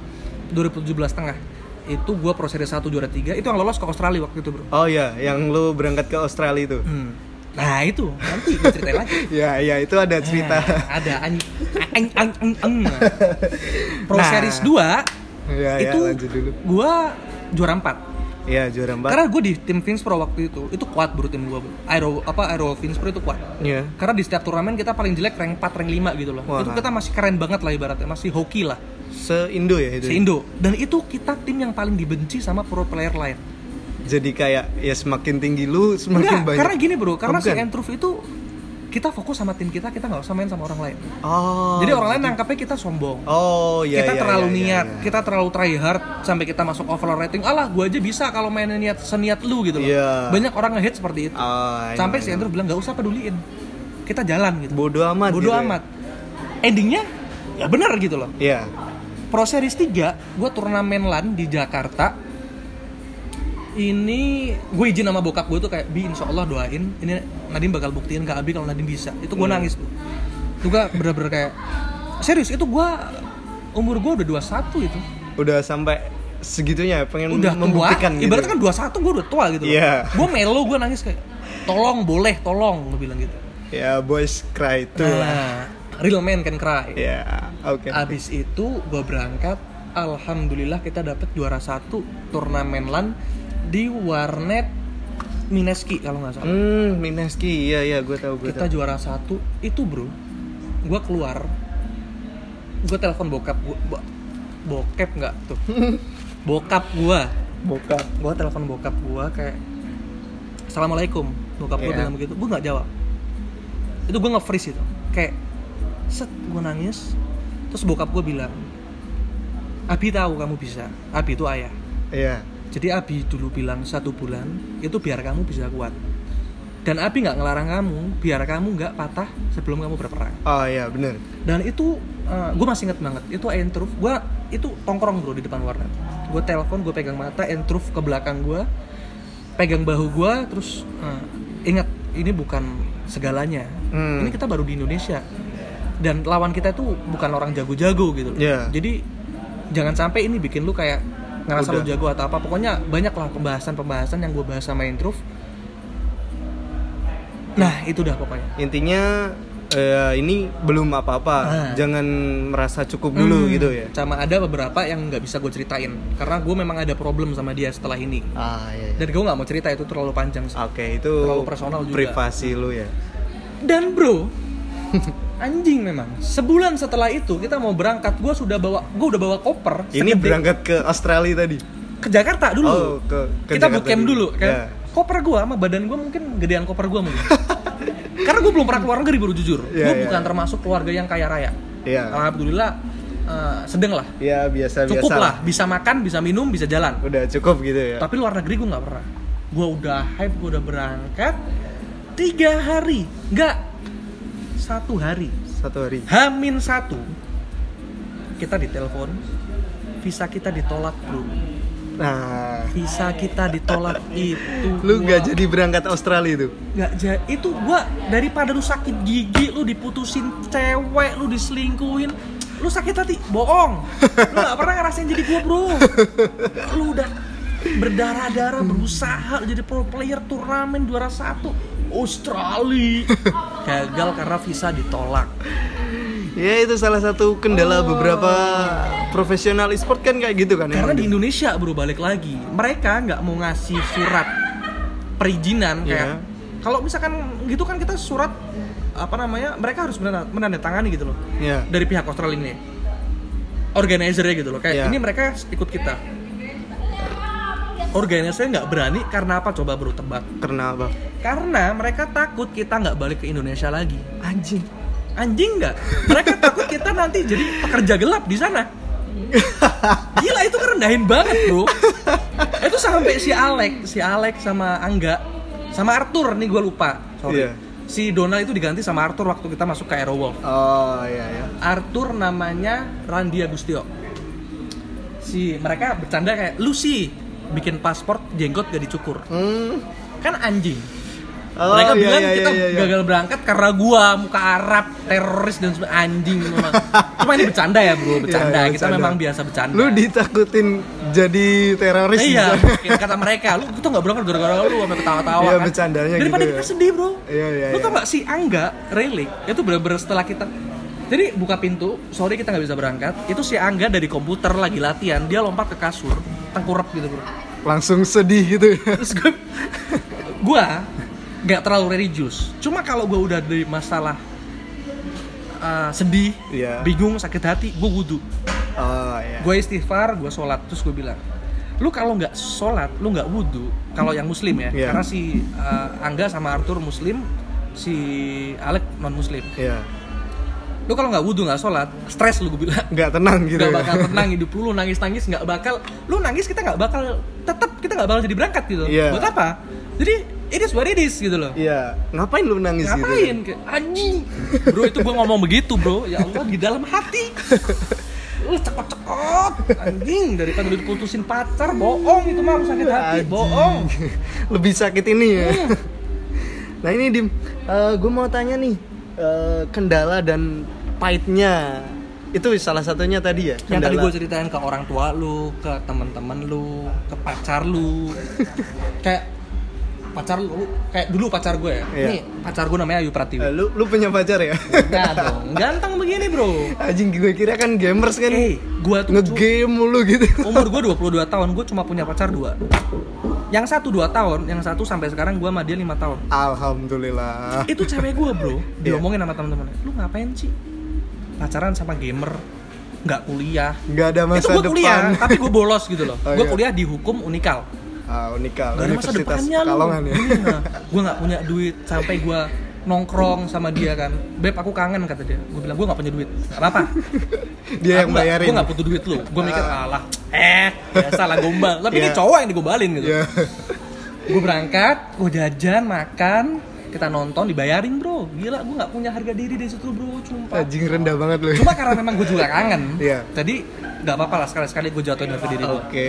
B: 2017 setengah itu gue pro series 1 juara 3 itu yang lolos ke Australia waktu itu bro
A: Oh ya, yang lu berangkat ke Australia itu.
B: Hmm. nah itu nanti gue ceritain lagi
A: Ya, ya itu ada cerita.
B: Nah, ada ang ang ang ang, ang. Pro
A: Nah.
B: Series 2
A: ya, ya,
B: itu
A: lanjut dulu.
B: gua juara 4.
A: Ya, juara empat.
B: Karena gue di tim Vince Pro waktu itu, itu kuat bro tim gue Aero apa Aero Vince Pro itu kuat.
A: Ya.
B: Karena di setiap turnamen kita paling jelek rank 4, rank 5 gitu loh.
A: Wah.
B: Itu kita masih keren banget lah ibaratnya, masih hoki lah,
A: Se-Indo ya itu.
B: se-Indo. Dan itu kita tim yang paling dibenci sama pro player lain.
A: Jadi kayak ya semakin tinggi lu semakin
B: Enggak,
A: banyak.
B: karena gini bro,
A: Oh,
B: karena si
A: bukan?
B: Entruf itu kita fokus sama tim kita, kita nggak usah main sama orang lain.
A: Oh.
B: Jadi orang lain nangkapnya kita sombong.
A: Oh, ya
B: kita
A: ya,
B: terlalu
A: ya, ya,
B: niat,
A: ya.
B: kita terlalu try hard sampai kita masuk overall rating. Alah, gua aja bisa kalau mainnya niat seniat lu gitu loh.
A: Iya.
B: Banyak orang ngehit seperti itu.
A: Oh, I
B: sampai
A: know,
B: si
A: I know.
B: Andrew bilang nggak usah peduliin. Kita jalan gitu.
A: bodo amat.
B: Bodoh
A: gitu ya.
B: amat. Endingnya ya benar gitu loh.
A: Iya.
B: Pro Series 3, gua turnamen LAN di Jakarta. Ini gue izin sama bokap gue tuh kayak bi insya Allah doain ini Nadiem bakal buktiin ke Abi kalau Nadiem bisa itu
A: Iya.
B: gue nangis tuh itu gue bener-bener kayak serius itu gue umur gue udah 21 itu
A: Udah sampai segitunya pengen
B: udah tua
A: membuktikan gitu.
B: ibaratnya kan 21 gue udah tua gitu
A: Iya.
B: gue melo gue nangis kayak tolong boleh tolong gue bilang gitu
A: Ya, boys cry itu lah.
B: nah real man can cry
A: Ya, oke.
B: Abis itu gue berangkat, alhamdulillah kita dapet juara satu turnamen LAN di warnet Mineski kalau nggak salah.
A: Hmm, Mineski. Iya, iya, gue tahu, gue
B: Kita
A: tahu.
B: juara satu itu bro, gue keluar, gue telepon bokap gue, bokep nggak tuh, bokap gue,
A: Bokap.
B: gue telepon bokap gue kayak, assalamualaikum, bokap gue
A: Iya.
B: bilang begitu, gue nggak jawab, itu gue nge-freeze itu, kayak, set gue nangis, terus bokap gue bilang, Abi tahu kamu bisa, Abi itu ayah,
A: Iya.
B: jadi Abi dulu bilang satu bulan itu biar kamu bisa kuat. Dan Abi nggak ngelarang kamu, biar kamu nggak patah sebelum kamu berperang.
A: Oh, iya, bener.
B: Dan itu gue masih inget banget. Itu entruf, gue itu tongkrong bro di depan warnet. Gue telepon, gue pegang mata, entruf ke belakang gue, pegang bahu gue, terus eh, ingat ini bukan segalanya.
A: Hmm.
B: Ini kita baru di Indonesia dan lawan kita itu bukan orang jago-jago gitu. loh.
A: Iya.
B: Jadi jangan sampai ini bikin lu kayak ngerasa lu
A: Udah.
B: jago atau apa. Pokoknya banyak lah pembahasan-pembahasan yang gue bahas sama Intruf. Nah itu dah pokoknya.
A: Intinya eh, ini belum apa-apa.
B: Ah.
A: Jangan merasa cukup dulu
B: Hmm.
A: gitu ya.
B: Sama ada beberapa yang nggak bisa gue ceritain karena gue memang ada problem sama dia setelah ini.
A: Ah, iya. iya.
B: Dan gue nggak mau cerita itu terlalu panjang. sih.
A: Oke, itu
B: Terlalu personal juga.
A: privasi lu ya.
B: Dan bro, anjing memang. Sebulan setelah itu kita mau berangkat, gue sudah bawa, gue udah bawa koper.
A: Ini
B: segede-
A: berangkat ke Australia tadi.
B: ke Jakarta dulu.
A: Oh, ke- ke
B: kita
A: Jakarta
B: bootcamp
A: dulu.
B: dulu, kan.
A: Ya.
B: Koper gua sama badan gua mungkin gedean koper gua mungkin. Karena gua belum pernah keluar negeri baru jujur.
A: Ya,
B: gua
A: ya.
B: bukan termasuk keluarga yang kaya raya.
A: Iya.
B: Alhamdulillah eh, sedang lah.
A: Ya, biasa-biasa.
B: Cukup lah, bisa makan, bisa minum, bisa jalan.
A: Udah cukup gitu ya.
B: Tapi luar negeri gua nggak pernah. Gua udah hype, gua udah berangkat tiga hari, nggak satu hari.
A: Satu hari.
B: Hamin satu kita ditelepon, visa kita ditolak bro.
A: Nah,
B: Visa kita ditolak itu
A: lu
B: gua-
A: nggak jadi berangkat Australia itu.
B: nggak ja- itu gua daripada lu sakit gigi lu diputusin cewek lu diselingkuhin lu sakit hati bohong lu gak pernah ngerasain jadi gua bro lu udah berdarah-darah berusaha lu jadi pro player turnamen juara satu Australia gagal karena visa ditolak
A: Ya itu salah satu kendala beberapa profesional e-sport kan kayak gitu kan.
B: Karena
A: emang.
B: di Indonesia bro balik lagi, mereka nggak mau ngasih surat perizinan
A: Iya.
B: kayak kalau misalkan gitu kan kita surat apa namanya mereka harus menanda- menandatangani gitu loh
A: Ya.
B: dari pihak Australia ini. organizer-nya gitu loh kayak
A: Iya.
B: ini mereka ikut kita organisernya nggak berani karena apa coba bro tebak
A: Karena apa?
B: karena mereka takut kita nggak balik ke Indonesia lagi
A: Anjing.
B: anjing nggak mereka takut kita nanti jadi pekerja gelap di sana gila itu kerendahin banget bro itu sampai si Alex si Alex sama Angga sama Arthur nih gue lupa sorry
A: Iya.
B: si Donald itu diganti sama Arthur waktu kita masuk ke Aerowolf
A: Oh iya ya.
B: Arthur namanya Randi Agustio si mereka bercanda kayak Lucy bikin paspor jenggot gak dicukur
A: Hmm.
B: kan anjing
A: Oh,
B: mereka
A: iya,
B: bilang
A: iya,
B: kita
A: iya, iya.
B: gagal berangkat karena gua muka Arab, teroris dan sebagainya anjing memang. Cuma ini bercanda ya bro,
A: Iya,
B: bercanda.
A: iya,
B: kita
A: bercanda.
B: memang biasa bercanda.
A: Lu ditakutin jadi teroris
B: Eh,
A: di
B: iya,
A: sana.
B: mungkin kata mereka, lu kita nggak berangkat gara-gara lu sampai ketawa-tawa
A: gitu. Iya,
B: kan.
A: bercandanya
B: Daripada
A: gitu
B: kita
A: ya.
B: sedih bro.
A: Iya, iya,
B: Lu tau
A: iya.
B: gak si Angga, Relik, itu bener-bener setelah kita jadi buka pintu, sorry kita nggak bisa berangkat. Itu si Angga dari komputer lagi latihan, dia lompat ke kasur, tengkurap gitu bro.
A: Langsung sedih gitu.
B: terus gue gue nggak terlalu religius cuma kalau gue udah dari masalah uh, sedih
A: Iya.
B: bingung sakit hati gue wudhu
A: Oh iya.
B: gue istighfar gue sholat terus gue bilang lu kalau nggak sholat lu nggak wudhu kalau yang muslim ya
A: Iya.
B: karena si uh, angga sama arthur muslim si Alek non muslim
A: Iya.
B: lu kalau nggak wudhu nggak sholat stres lu gue bilang
A: Nggak tenang gitu.
B: nggak
A: ya.
B: bakal tenang hidup lu, lu nangis nangis nggak bakal lu nangis kita nggak bakal tetap kita nggak bakal jadi berangkat gitu
A: Iya.
B: buat apa jadi it is what it is gitu loh
A: Iya. Ngapain lu nangis gitu?
B: ngapain Kayak, anjing bro itu gua ngomong begitu bro ya Allah di dalam hati lu cekot cekot anjing daripada lu diputusin pacar bohong itu mah lu sakit hati
A: Anjing.
B: bohong
A: Lebih sakit ini
B: Iya.
A: ya. nah ini Dim, gue mau tanya nih eh, kendala dan pahitnya itu salah satunya tadi ya.
B: yang
A: kendala.
B: tadi gue ceritain ke orang tua lu ke teman-teman lu ke pacar lu kayak pacar lu kayak dulu pacar gue ya
A: Iya.
B: nih pacar gue namanya Ayu
A: Eh,
B: Pratiwi
A: lu lu punya pacar ya?
B: Enggak dong ganteng begini bro
A: Anjing gue kira kan gamers kan.
B: eh gue tuh
A: Ngegame mulu gitu.
B: umur gue 22 tahun gue cuma punya pacar dua yang satu dua tahun yang satu sampai sekarang gue sama dia lima tahun
A: Alhamdulillah.
B: itu cewek gue bro
A: Ah. Iya.
B: diomongin sama teman-teman lu ngapain sih pacaran sama gamer nggak kuliah
A: Nggak ada masa
B: itu gue
A: depan.
B: kuliah tapi gue bolos gitu loh
A: Oh,
B: gue
A: iya.
B: kuliah di hukum unikal
A: Ah, unikal.
B: Gak ada masa
A: Universitas
B: depannya lu
A: Pekalongan ya.
B: Gue gak punya duit Sampai gue nongkrong sama dia kan Beb aku kangen kata dia Gue bilang gue gak punya duit Gak apa-apa
A: Dia yang bayarin. Ah.
B: Gue gak butuh duit lu Gue mikir alah Eh biasa lah gombal Tapi ini
A: Iya.
B: cowok yang digombalin gitu
A: Iya.
B: Gue berangkat Gue jajan makan Kita nonton dibayarin bro Gila gue gak punya harga diri dari situ bro Cuma
A: Anjing rendah banget lu.
B: Cuma karena memang gue juga
A: Eh.
B: kangen
A: Iya.
B: Jadi gak apa-apa lah sekali-sekali gue jatuhin harga diri gue
A: Oke,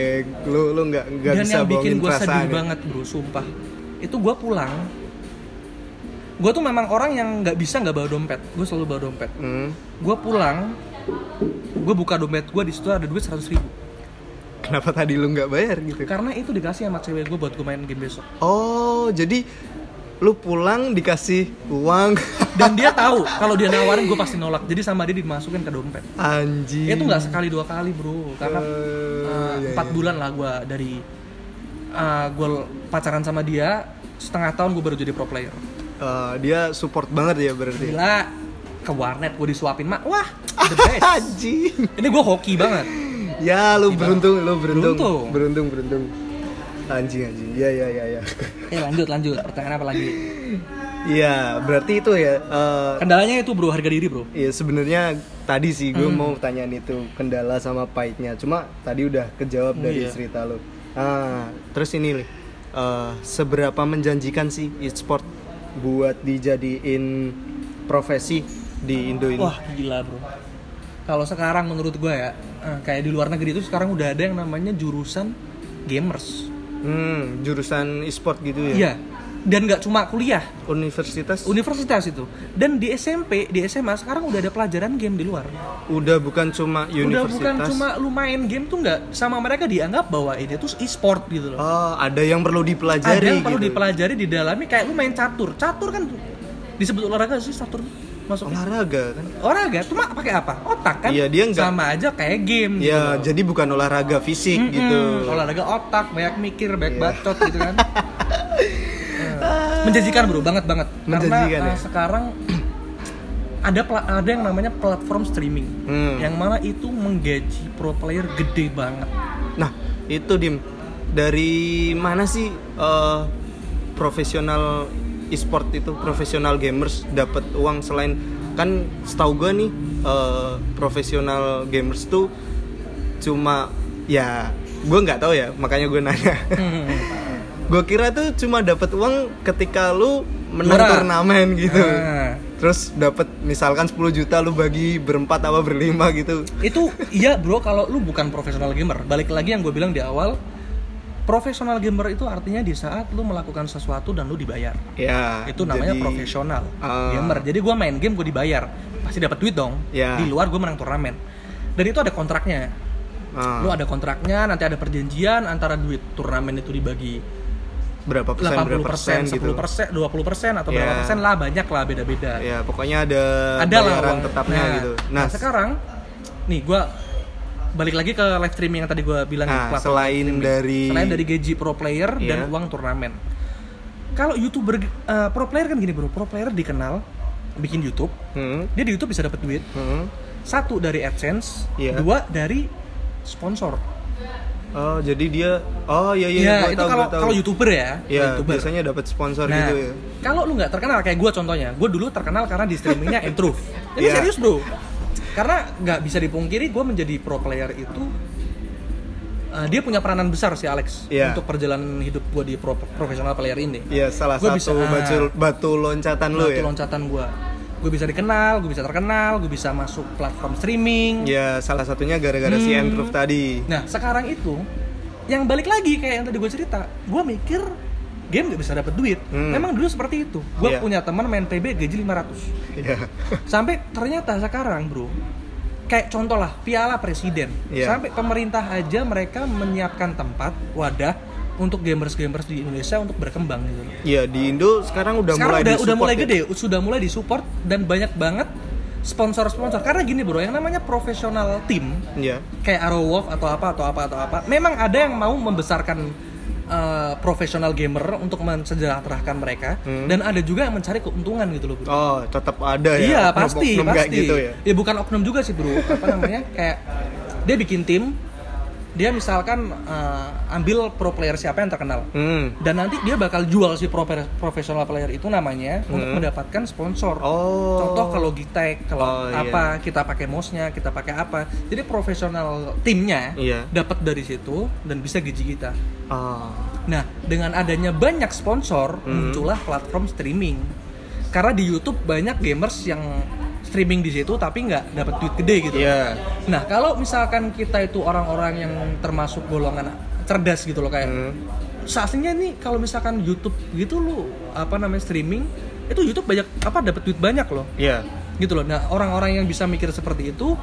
A: lu lu nggak nggak
B: dan
A: bisa
B: yang bikin
A: bohongin
B: gue sedih
A: perasaan. ya.
B: banget bro sumpah itu gue pulang gue tuh memang orang yang nggak bisa nggak bawa dompet gue selalu bawa dompet
A: Hmm.
B: gue pulang gue buka dompet gue di situ ada duit seratus ribu
A: Kenapa tadi lu nggak bayar gitu?
B: karena itu dikasih sama cewek gue buat gue main game besok
A: Oh, jadi lu pulang dikasih uang
B: dan dia tahu kalau dia nawarin gue pasti nolak jadi sama dia dimasukin ke dompet
A: anjing.
B: itu nggak sekali dua kali bro karena
A: Eh,
B: uh,
A: iya,
B: empat
A: iya.
B: bulan lah gue dari uh, gue pacaran sama dia setengah tahun gue baru jadi pro player
A: Eh, dia support banget ya berarti.
B: Gila ke warnet gue disuapin mak wah the best
A: Eh, Anjing.
B: ini gue hoki banget
A: Ya, lu beruntung, lu beruntung.
B: Beruntung.
A: Beruntung, beruntung. Anjing, anjing. Ya, ya, ya, ya.
B: eh lanjut lanjut pertanyaan apa lagi
A: Iya, berarti itu ya eh,
B: kendalanya itu bro harga diri bro
A: Iya sebenarnya tadi sih gue
B: Hmm.
A: mau tanyain itu kendala sama pahitnya. Cuma tadi udah kejawab dari
B: Iya.
A: cerita lo. Ah, terus ini Li. Eh, seberapa menjanjikan sih e-sport buat dijadiin profesi di Indo ini?
B: wah gila bro kalau sekarang menurut gue ya eh, kayak di luar negeri itu sekarang udah ada yang namanya jurusan gamers
A: Hmm, jurusan e-sport gitu ya.
B: iya dan nggak cuma kuliah
A: Universitas
B: universitas itu dan di SMP di SMA sekarang udah ada pelajaran game di luar
A: udah bukan cuma
B: udah
A: universitas.
B: bukan cuma lu main game tuh nggak sama mereka dianggap bahwa ini tuh e-sport gitu loh
A: Oh, ada yang perlu dipelajari
B: ada yang perlu
A: gitu.
B: dipelajari di dalamnya kayak lu main catur catur kan disebut olahraga sih catur masuk
A: Olahraga kan.
B: olahraga cuma pakai apa otak kan
A: Iya, dia nggak-
B: sama aja kayak game
A: Ya, jadi bukan olahraga fisik
B: Mm-mm.
A: gitu.
B: Hmm.
A: Iya.
B: olahraga otak banyak mikir banyak bacot gitu kan Eh, menjanjikan bro banget banget
A: Menjanjikan,
B: karena
A: ya?
B: eh, sekarang ada pla- ada yang namanya platform streaming
A: Hmm.
B: yang mana itu menggaji pro player gede banget
A: Nah, itu Dim. Dari mana sih eh, profesional e-sport itu, profesional gamers dapat uang selain kan setahu gue nih eh, profesional gamers tuh cuma ya gue nggak tahu ya makanya gue nanya
B: Hmm.
A: gue kira tuh cuma dapat uang ketika lu menang
B: Juara.
A: turnamen gitu
B: Ah.
A: terus dapat misalkan 10 juta lu bagi berempat apa berlima gitu
B: itu iya bro kalau lu bukan profesional gamer balik lagi yang gue bilang di awal profesional gamer itu artinya di saat lu melakukan sesuatu dan lu dibayar
A: ya
B: itu namanya
A: jadi-
B: profesional
A: Ah.
B: gamer jadi gua main game gue dibayar pasti dapat duit dong
A: Ya.
B: di luar gue menang turnamen dan itu ada kontraknya
A: Ah.
B: lu ada kontraknya nanti ada perjanjian antara duit turnamen itu dibagi
A: berapa persen
B: 80
A: berapa persen gitu
B: 10 20 atau
A: Ya.
B: berapa persen lah banyak lah beda-beda
A: ya pokoknya ada
B: ada lah
A: bayaran
B: uang.
A: tetapnya
B: Nah,
A: gitu
B: nah, sekarang nih gua balik lagi ke live streaming yang tadi gua bilang
A: nah,
B: platform
A: selain dari
B: selain dari gaji pro player dan
A: Iya.
B: uang turnamen. Kalau youtuber eh, pro player kan gini bro, pro player dikenal bikin YouTube,
A: Hmm,
B: dia di YouTube bisa dapat duit.
A: hmm.
B: Satu dari AdSense,
A: Iya.
B: dua dari sponsor.
A: oh jadi dia oh iya iya
B: Iya,
A: gua
B: itu
A: tahu,
B: kalau
A: gua tahu.
B: kalau youtuber ya, kalau
A: ya
B: YouTuber.
A: biasanya dapat sponsor
B: Nah,
A: gitu ya
B: kalau lu nggak terkenal kayak gue contohnya, gue dulu terkenal karena di streamingnya improve. Ini
A: Iya.
B: serius bro, karena nggak bisa dipungkiri gue menjadi pro player itu eh, dia punya peranan besar si Alex
A: Iya.
B: untuk perjalanan hidup gue di pro- profesional player ini.
A: Iya, salah
B: Gua
A: satu
B: bisa-
A: batu batu loncatan lu
B: Itu
A: ya
B: loncatan gue, gue bisa dikenal, gue bisa terkenal, gue bisa masuk platform streaming.
A: ya salah satunya gara-gara
B: Hmm.
A: si Andrew tadi
B: Nah sekarang itu yang balik lagi kayak yang tadi gue cerita, gue mikir game nggak bisa dapat duit.
A: Hmm.
B: Memang dulu seperti itu. Gue
A: Iya.
B: punya teman main PB gaji 500.
A: ya
B: sampai ternyata sekarang bro kayak contoh lah piala presiden
A: Iya.
B: sampai pemerintah aja mereka menyiapkan tempat wadah untuk gamers-gamers di Indonesia untuk berkembang gitu.
A: ya di Indo sekarang udah
B: Sekarang
A: mulai
B: udah udah
A: disupport
B: mulai
A: ya.
B: gede, sudah mulai disupport dan banyak banget sponsor-sponsor. Karena gini bro, yang namanya profesional tim
A: Iya.
B: kayak Arrow Wolf atau apa atau apa atau apa, memang ada yang mau membesarkan eh, profesional gamer untuk mensejahterakan mereka
A: Hmm.
B: dan ada juga yang mencari keuntungan gitu loh bro.
A: oh tetap ada ya
B: Iya
A: oknum-oknum
B: pasti
A: nggak
B: pasti.
A: gitu ya
B: bukan oknum juga sih bro. Apa namanya? Kayak dia bikin tim, dia misalkan eh, ambil pro player siapa yang terkenal.
A: hmm.
B: Dan nanti dia bakal jual si pro player- professional player itu namanya untuk
A: Hmm.
B: mendapatkan sponsor.
A: Oh.
B: Contoh kalau Gitek,
A: Oh,
B: kalau
A: iya.
B: apa kita pakai mouse-nya, kita pakai apa. Jadi profesional timnya
A: Iya.
B: dapat dari situ dan bisa gaji kita.
A: Ah.
B: Nah, dengan adanya banyak sponsor,
A: Hmm.
B: muncullah platform streaming. Karena di YouTube banyak gamers yang streaming di situ tapi nggak dapat duit gede gitu.
A: Iya.
B: Nah, kalau misalkan kita itu orang-orang yang termasuk golongan cerdas gitu loh kayak
A: Hmm.
B: seaslinya nih kalau misalkan YouTube gitu lu apa namanya streaming itu YouTube banyak apa dapat duit banyak loh
A: Iya.
B: gitu loh. Nah, orang-orang yang bisa mikir seperti itu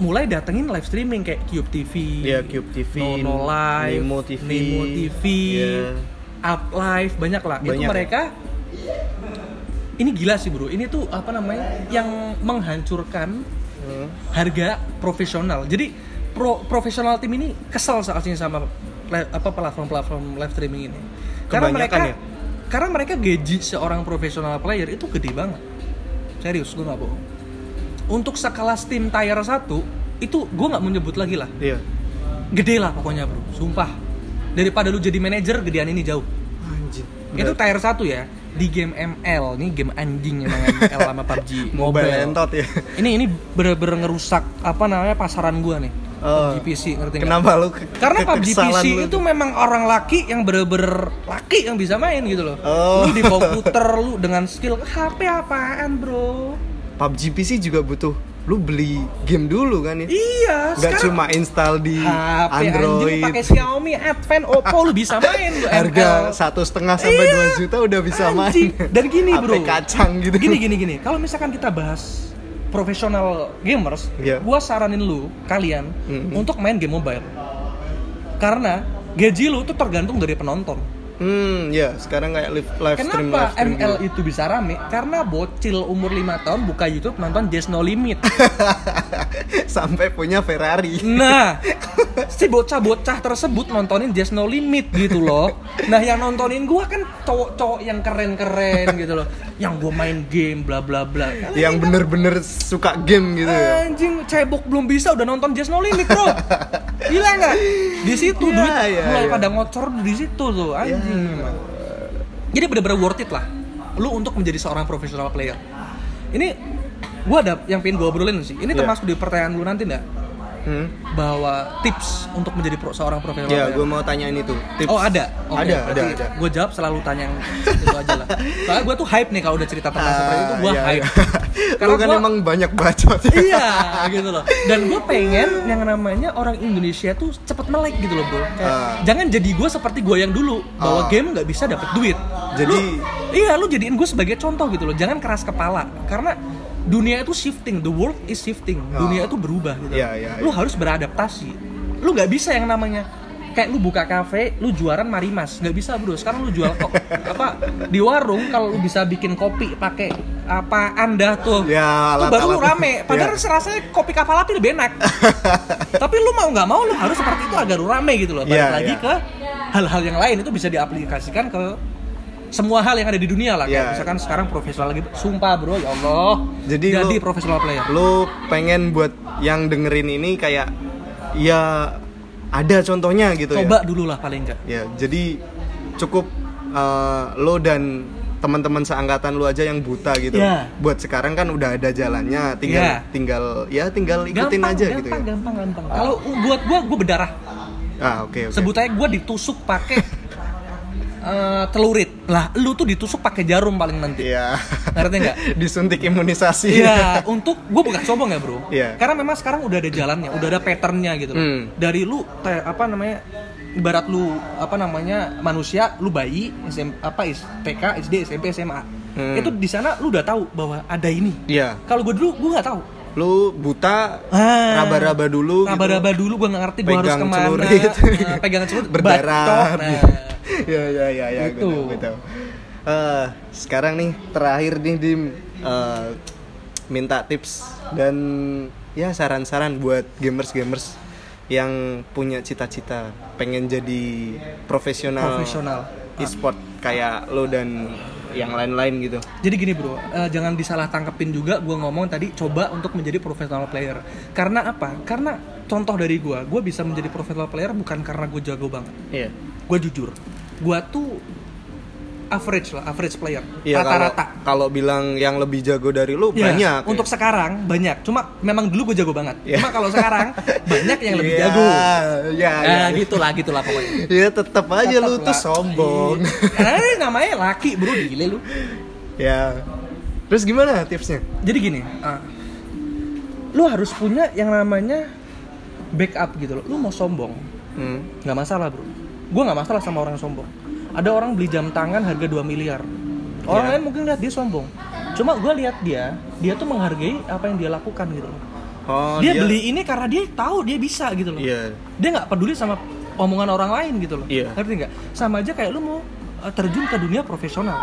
B: mulai datengin live streaming kayak Cube TV,
A: Iya, Cube TV,
B: Nono Live,
A: Nemo TV,
B: Nemo TV,
A: iya.
B: Up Live, banyak lah. itu
A: Banyak ya?
B: mereka ini gila sih bro. Ini tuh apa namanya yang menghancurkan
A: Hmm.
B: harga profesional. Jadi pro profesional tim ini kesal saatnya sama li- apa platform-platform live streaming ini. Karena
A: Kebanyakan
B: mereka
A: ya?
B: karena mereka gaji seorang profesional player itu gede banget. Serius, gue nggak bohong. Untuk sekelas tim tier 1 itu gue nggak mau nyebut lagi lah.
A: Iya.
B: Gede lah pokoknya bro, sumpah. Daripada lu jadi manajer, gedean ini jauh.
A: Anjir.
B: Itu tier 1 ya di game ML, nih game anjing emang ML sama PUBG.
A: Mobile entot ya.
B: Ini ini bener-bener ngerusak apa namanya pasaran gua nih.
A: Oh.
B: PUBG PC ngerti nggak?
A: Kenapa lu ke-
B: Karena
A: ke-
B: PUBG
A: kekesalan
B: PC
A: lu?
B: itu memang orang laki yang bener-bener laki yang bisa main gitu loh.
A: Oh.
B: Lu di komputer lu dengan skill HP apaan, Bro?
A: PUBG PC juga butuh lu beli game dulu kan ya.
B: Iya,
A: Gak
B: sekarang
A: cuma install di
B: HP anjing
A: Android.
B: pakai Xiaomi Advance Oppo lu bisa main lu
A: Harga
B: ML.
A: satu setengah sampai
B: Iya.
A: dua juta udah bisa
B: Anjing.
A: main.
B: Dan gini,
A: HP
B: Bro.
A: kacang gitu.
B: Gini gini gini. Kalau misalkan kita bahas profesional gamers,
A: Iya.
B: gua saranin lu kalian untuk main game mobile. Karena gaji lu tuh tergantung dari penonton.
A: Hmm, ya sekarang kayak live live stream live
B: Kenapa
A: stream
B: ML
A: gitu.
B: itu bisa rame? Karena bocil umur 5 tahun buka YouTube nonton Just No Limit.
A: sampai punya Ferrari.
B: Nah, si bocah-bocah tersebut nontonin Just No Limit gitu loh. Nah, yang nontonin gua kan cowok-cowok yang keren-keren gitu loh. Yang gua main game bla bla bla.
A: yang bener-bener suka game gitu
B: Eh.
A: ya.
B: Anjing cebok belum bisa udah nonton Just No Limit, Bro. Gila nggak? Di situ
A: Ya,
B: duit
A: ya,
B: mulai
A: ya.
B: pada ngocor di situ tuh,
A: Iya.
B: anjing. emang. Jadi bener-bener worth it lah. Lu untuk menjadi seorang profesional player. Ini gua ada yang pengen gua obrolin sih. Ini
A: Iya.
B: termasuk di pertanyaan lu nanti nggak?
A: Hmm.
B: bahwa tips untuk menjadi pro, seorang profesional
A: Ya,
B: player.
A: gue mau tanyain itu. Tips.
B: oh ada
A: Ada, ada, ada.
B: gue jawab selalu tanya yang itu aja lah soalnya gue tuh hype nih kalau udah cerita tentang Nah, seperti itu gue
A: Ah, iya,
B: hype
A: iya.
B: Karena
A: Lu kan
B: gua-
A: emang banyak bacot. ya.
B: iya gitu loh dan gue pengen yang namanya orang Indonesia tuh cepet melek gitu loh bro Kayak,
A: Ah.
B: jangan jadi gue seperti gue yang dulu
A: Ah.
B: bahwa game nggak bisa dapet duit
A: Jadi-
B: Lu- iya lu jadiin gue sebagai contoh gitu loh jangan keras kepala karena dunia itu shifting the world is shifting dunia itu berubah
A: Ah.
B: gitu
A: Iya, iya,
B: lu harus beradaptasi lu nggak bisa yang namanya kayak lu buka kafe lu jualan marimas nggak bisa bro sekarang lu jual kok apa di warung kalau lu bisa bikin kopi pakai apa anda tuh
A: Ya,
B: tuh baru lu
A: lata-lata.
B: rame padahal
A: Ya.
B: serasanya kopi kapal api lebih enak tapi lu mau nggak mau lu harus seperti itu agar lu rame gitu loh balik
A: Ya,
B: lagi
A: ya.
B: ke hal-hal yang lain itu bisa diaplikasikan ke semua hal yang ada di dunia lah kayak
A: Ya.
B: misalkan sekarang profesional lagi sumpah bro ya Allah
A: Jadi lu-
B: profesional player
A: Lu pengen buat yang dengerin ini kayak ya ada contohnya gitu ya.
B: coba dulu lah paling enggak
A: Ya, jadi cukup eh, lo dan teman-teman seangkatan lu aja yang buta gitu.
B: Ya.
A: Buat sekarang kan udah ada jalannya, tinggal
B: Ya.
A: tinggal ya tinggal ikutin
B: gampang,
A: aja
B: gampang,
A: gitu ya.
B: gampang, gampang, Kalau buat gua, gua berdarah.
A: Ah, oke oke.
B: Sebut aja gua ditusuk pakai eh, telurit. Lah, lu tuh ditusuk pakai jarum paling nanti.
A: Iya.
B: Ngerti nggak?
A: Disuntik imunisasi.
B: Iya, untuk gue bukan sombong ya bro.
A: Iya.
B: Karena memang sekarang udah ada jalannya, udah ada patternnya gitu. loh.
A: Hmm.
B: Dari lu kayak apa namanya, ibarat lu apa namanya manusia, lu bayi, SM, apa is- TK, SD, SMP, SMA.
A: Hmm.
B: Itu di sana lu udah tahu bahwa ada ini.
A: Iya.
B: Kalau gue dulu gue nggak tahu.
A: Lu buta
B: Ah.
A: raba-raba dulu gitu.
B: Raba-raba dulu gue nggak ngerti gue harus
A: Pegang
B: kemana.
A: celurit.
B: Eh, pegangan celurit bacok,
A: berdarah
B: nah.
A: ya ya ya ya
B: Gitu.
A: gitu sekarang nih terakhir nih dim Eh, minta tips dan ya saran-saran buat gamers gamers yang punya cita-cita pengen jadi profesional
B: Profesional.
A: e-sport kayak lo dan yang lain-lain gitu
B: Jadi gini bro, eh, jangan disalah tangkepin juga gue ngomong tadi coba untuk menjadi professional player. Karena apa? Karena contoh dari gue, gue bisa menjadi professional player bukan karena gue jago banget.
A: iya
B: Gue jujur, gue tuh average lah, average player,
A: Iya kalau
B: rata-rata.
A: kalau bilang yang lebih jago dari lu
B: Ya,
A: banyak ya.
B: Untuk sekarang banyak. Cuma memang dulu gue jago banget.
A: Iya.
B: Cuma kalau sekarang banyak yang lebih
A: Iya,
B: jago.
A: Iya, iya.
B: Nah, gitulah, gitulah pokoknya.
A: Ya tetap aja lu
B: Tetep
A: tuh
B: lah.
A: sombong.
B: Eh, namanya laki bro, gile lu.
A: ya. Terus gimana tipsnya?
B: Jadi gini, ah, lu harus punya yang namanya backup gitu loh. Lu mau sombong,
A: Hmm.
B: nggak masalah bro. Gue nggak masalah sama orang sombong. Ada orang beli jam tangan harga 2 miliar. Orang
A: Iya.
B: lain mungkin lihat dia sombong. Cuma gue lihat dia, dia tuh menghargai apa yang dia lakukan gitu loh.
A: Oh,
B: dia, beli ini karena dia tahu dia bisa gitu loh.
A: Iya.
B: Dia nggak peduli sama omongan orang lain gitu loh.
A: Iya.
B: Ngerti nggak? Sama aja kayak lu mau eh, terjun ke dunia profesional.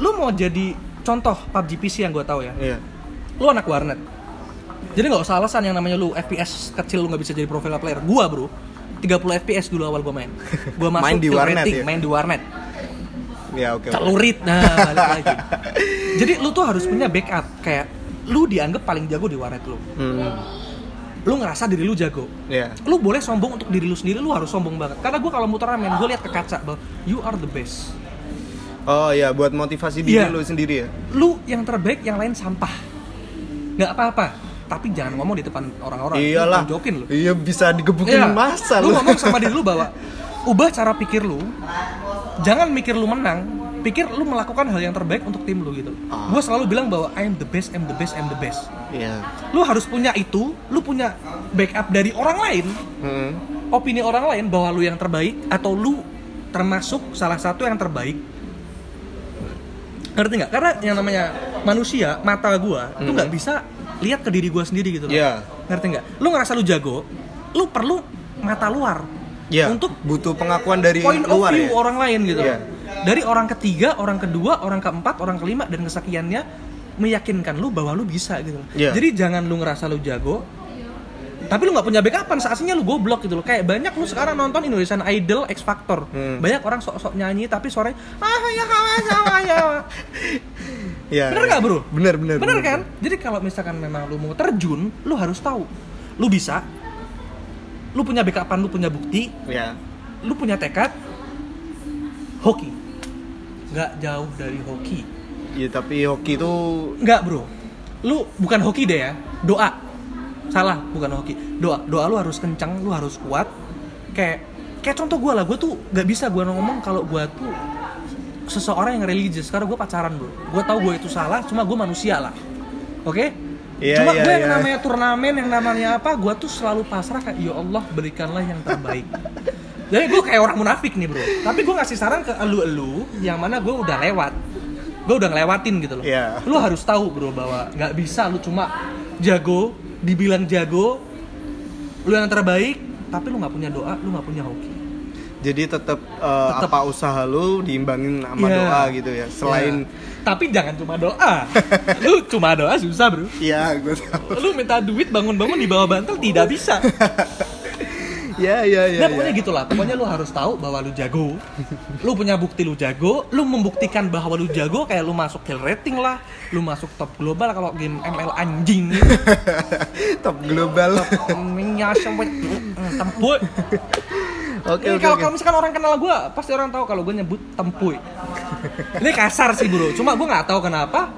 B: Lu mau jadi contoh PUBG PC yang gue tahu ya.
A: Iya.
B: Lu anak warnet. Jadi nggak usah alasan yang namanya lu FPS kecil lu nggak bisa jadi professional player. Gua bro, 30 FPS dulu awal gue main. Gua masuk
A: Main di
B: tim
A: warnet
B: rating,
A: ya?
B: main di warnet.
A: Ya, oke. oke.
B: Celurit nah balik lagi. Jadi lu tuh harus punya backup kayak lu dianggap paling jago di warnet lu.
A: Hmm.
B: Lu ngerasa diri lu jago
A: Ya.
B: lu boleh sombong untuk diri lu sendiri lu harus sombong banget karena gue kalau muter ramen gue lihat ke kaca bahwa you are the best
A: Oh, ya buat motivasi diri
B: Iya.
A: lu sendiri ya.
B: lu yang terbaik yang lain sampah nggak apa-apa tapi jangan ngomong di depan orang-orang Lu
A: Iyalah.
B: tonjokin lu
A: Iya, bisa digebukin
B: Iya.
A: masa
B: lu
A: lu.
B: ngomong sama diri lu bahwa ubah cara pikir lu jangan mikir lu menang pikir lu melakukan hal yang terbaik untuk tim lu gitu
A: Ah.
B: gue selalu bilang bahwa I am the best I'm the best I'm the best
A: Iya.
B: lu harus punya itu lu punya backup dari orang lain
A: Hmm.
B: opini orang lain bahwa lu yang terbaik atau lu termasuk salah satu yang terbaik ngerti nggak karena yang namanya manusia mata gua itu
A: Hmm.
B: nggak bisa lihat ke diri gua sendiri gitu loh
A: Iya.
B: ngerti nggak lu ngerasa lu jago lu perlu mata luar
A: Iya.
B: untuk
A: butuh pengakuan dari
B: point of
A: luar
B: view
A: ya.
B: orang lain gitu.
A: Iya.
B: Dari orang ketiga, orang kedua, orang keempat, orang kelima dan kesekiannya meyakinkan lu bahwa lu bisa gitu.
A: Iya.
B: Jadi jangan lu ngerasa lu jago tapi lu nggak punya backupan saatnya lu goblok gitu loh kayak banyak lu sekarang nonton Indonesian Idol X Factor
A: Hmm.
B: banyak orang sok-sok nyanyi tapi sore ah ya ah, ya ah, ya
A: Iya.
B: Bener nggak, bro?
A: Bener bener.
B: bener kan jadi kalau misalkan memang lu mau terjun lu harus tahu lu bisa lu punya backupan lu punya bukti
A: Iya.
B: lu punya tekad hoki nggak jauh dari hoki
A: Iya tapi hoki itu
B: nggak bro lu bukan hoki deh ya doa salah bukan hoki doa doa lu harus kencang lu harus kuat kayak kayak contoh gue lah gue tuh nggak bisa gue ngomong kalau gue tuh seseorang yang religius karena gue pacaran bro gue tahu gue itu salah cuma gue manusia lah oke
A: Iya,
B: cuma
A: iya,
B: gue yang
A: iya.
B: namanya turnamen yang namanya apa gue tuh selalu pasrah kayak ya Allah berikanlah yang terbaik jadi gue kayak orang munafik nih bro tapi gue ngasih saran ke elu-elu yang mana gue udah lewat gue udah ngelewatin gitu loh
A: Iya.
B: lu harus tahu bro bahwa nggak bisa lu cuma jago dibilang jago lu yang terbaik tapi lu nggak punya doa lu nggak punya hoki
A: jadi tetap eh,
B: Tetep.
A: apa usaha lu diimbangin sama
B: Iya.
A: doa gitu ya. Selain
B: Ya. tapi jangan cuma doa lu cuma doa susah bro
A: Iya, gue tahu.
B: lu minta duit bangun-bangun di bawah bantal tidak bisa
A: Iya, iya, iya.
B: Nah,
A: iya.
B: pokoknya gitulah. Pokoknya lu harus tahu bahwa lu jago. Lu punya bukti lu jago, lu membuktikan bahwa lu jago kayak lu masuk kill rating lah, lu masuk top global kalau game ML anjing.
A: Top global.
B: Minyak sampai tempuy.
A: Oke,
B: Mm,
A: oke.
B: Ini kalau
A: oke.
B: kalau misalkan orang kenal gue, pasti orang tahu kalau gue nyebut tempuy. Ini kasar sih bro, cuma gue nggak tahu kenapa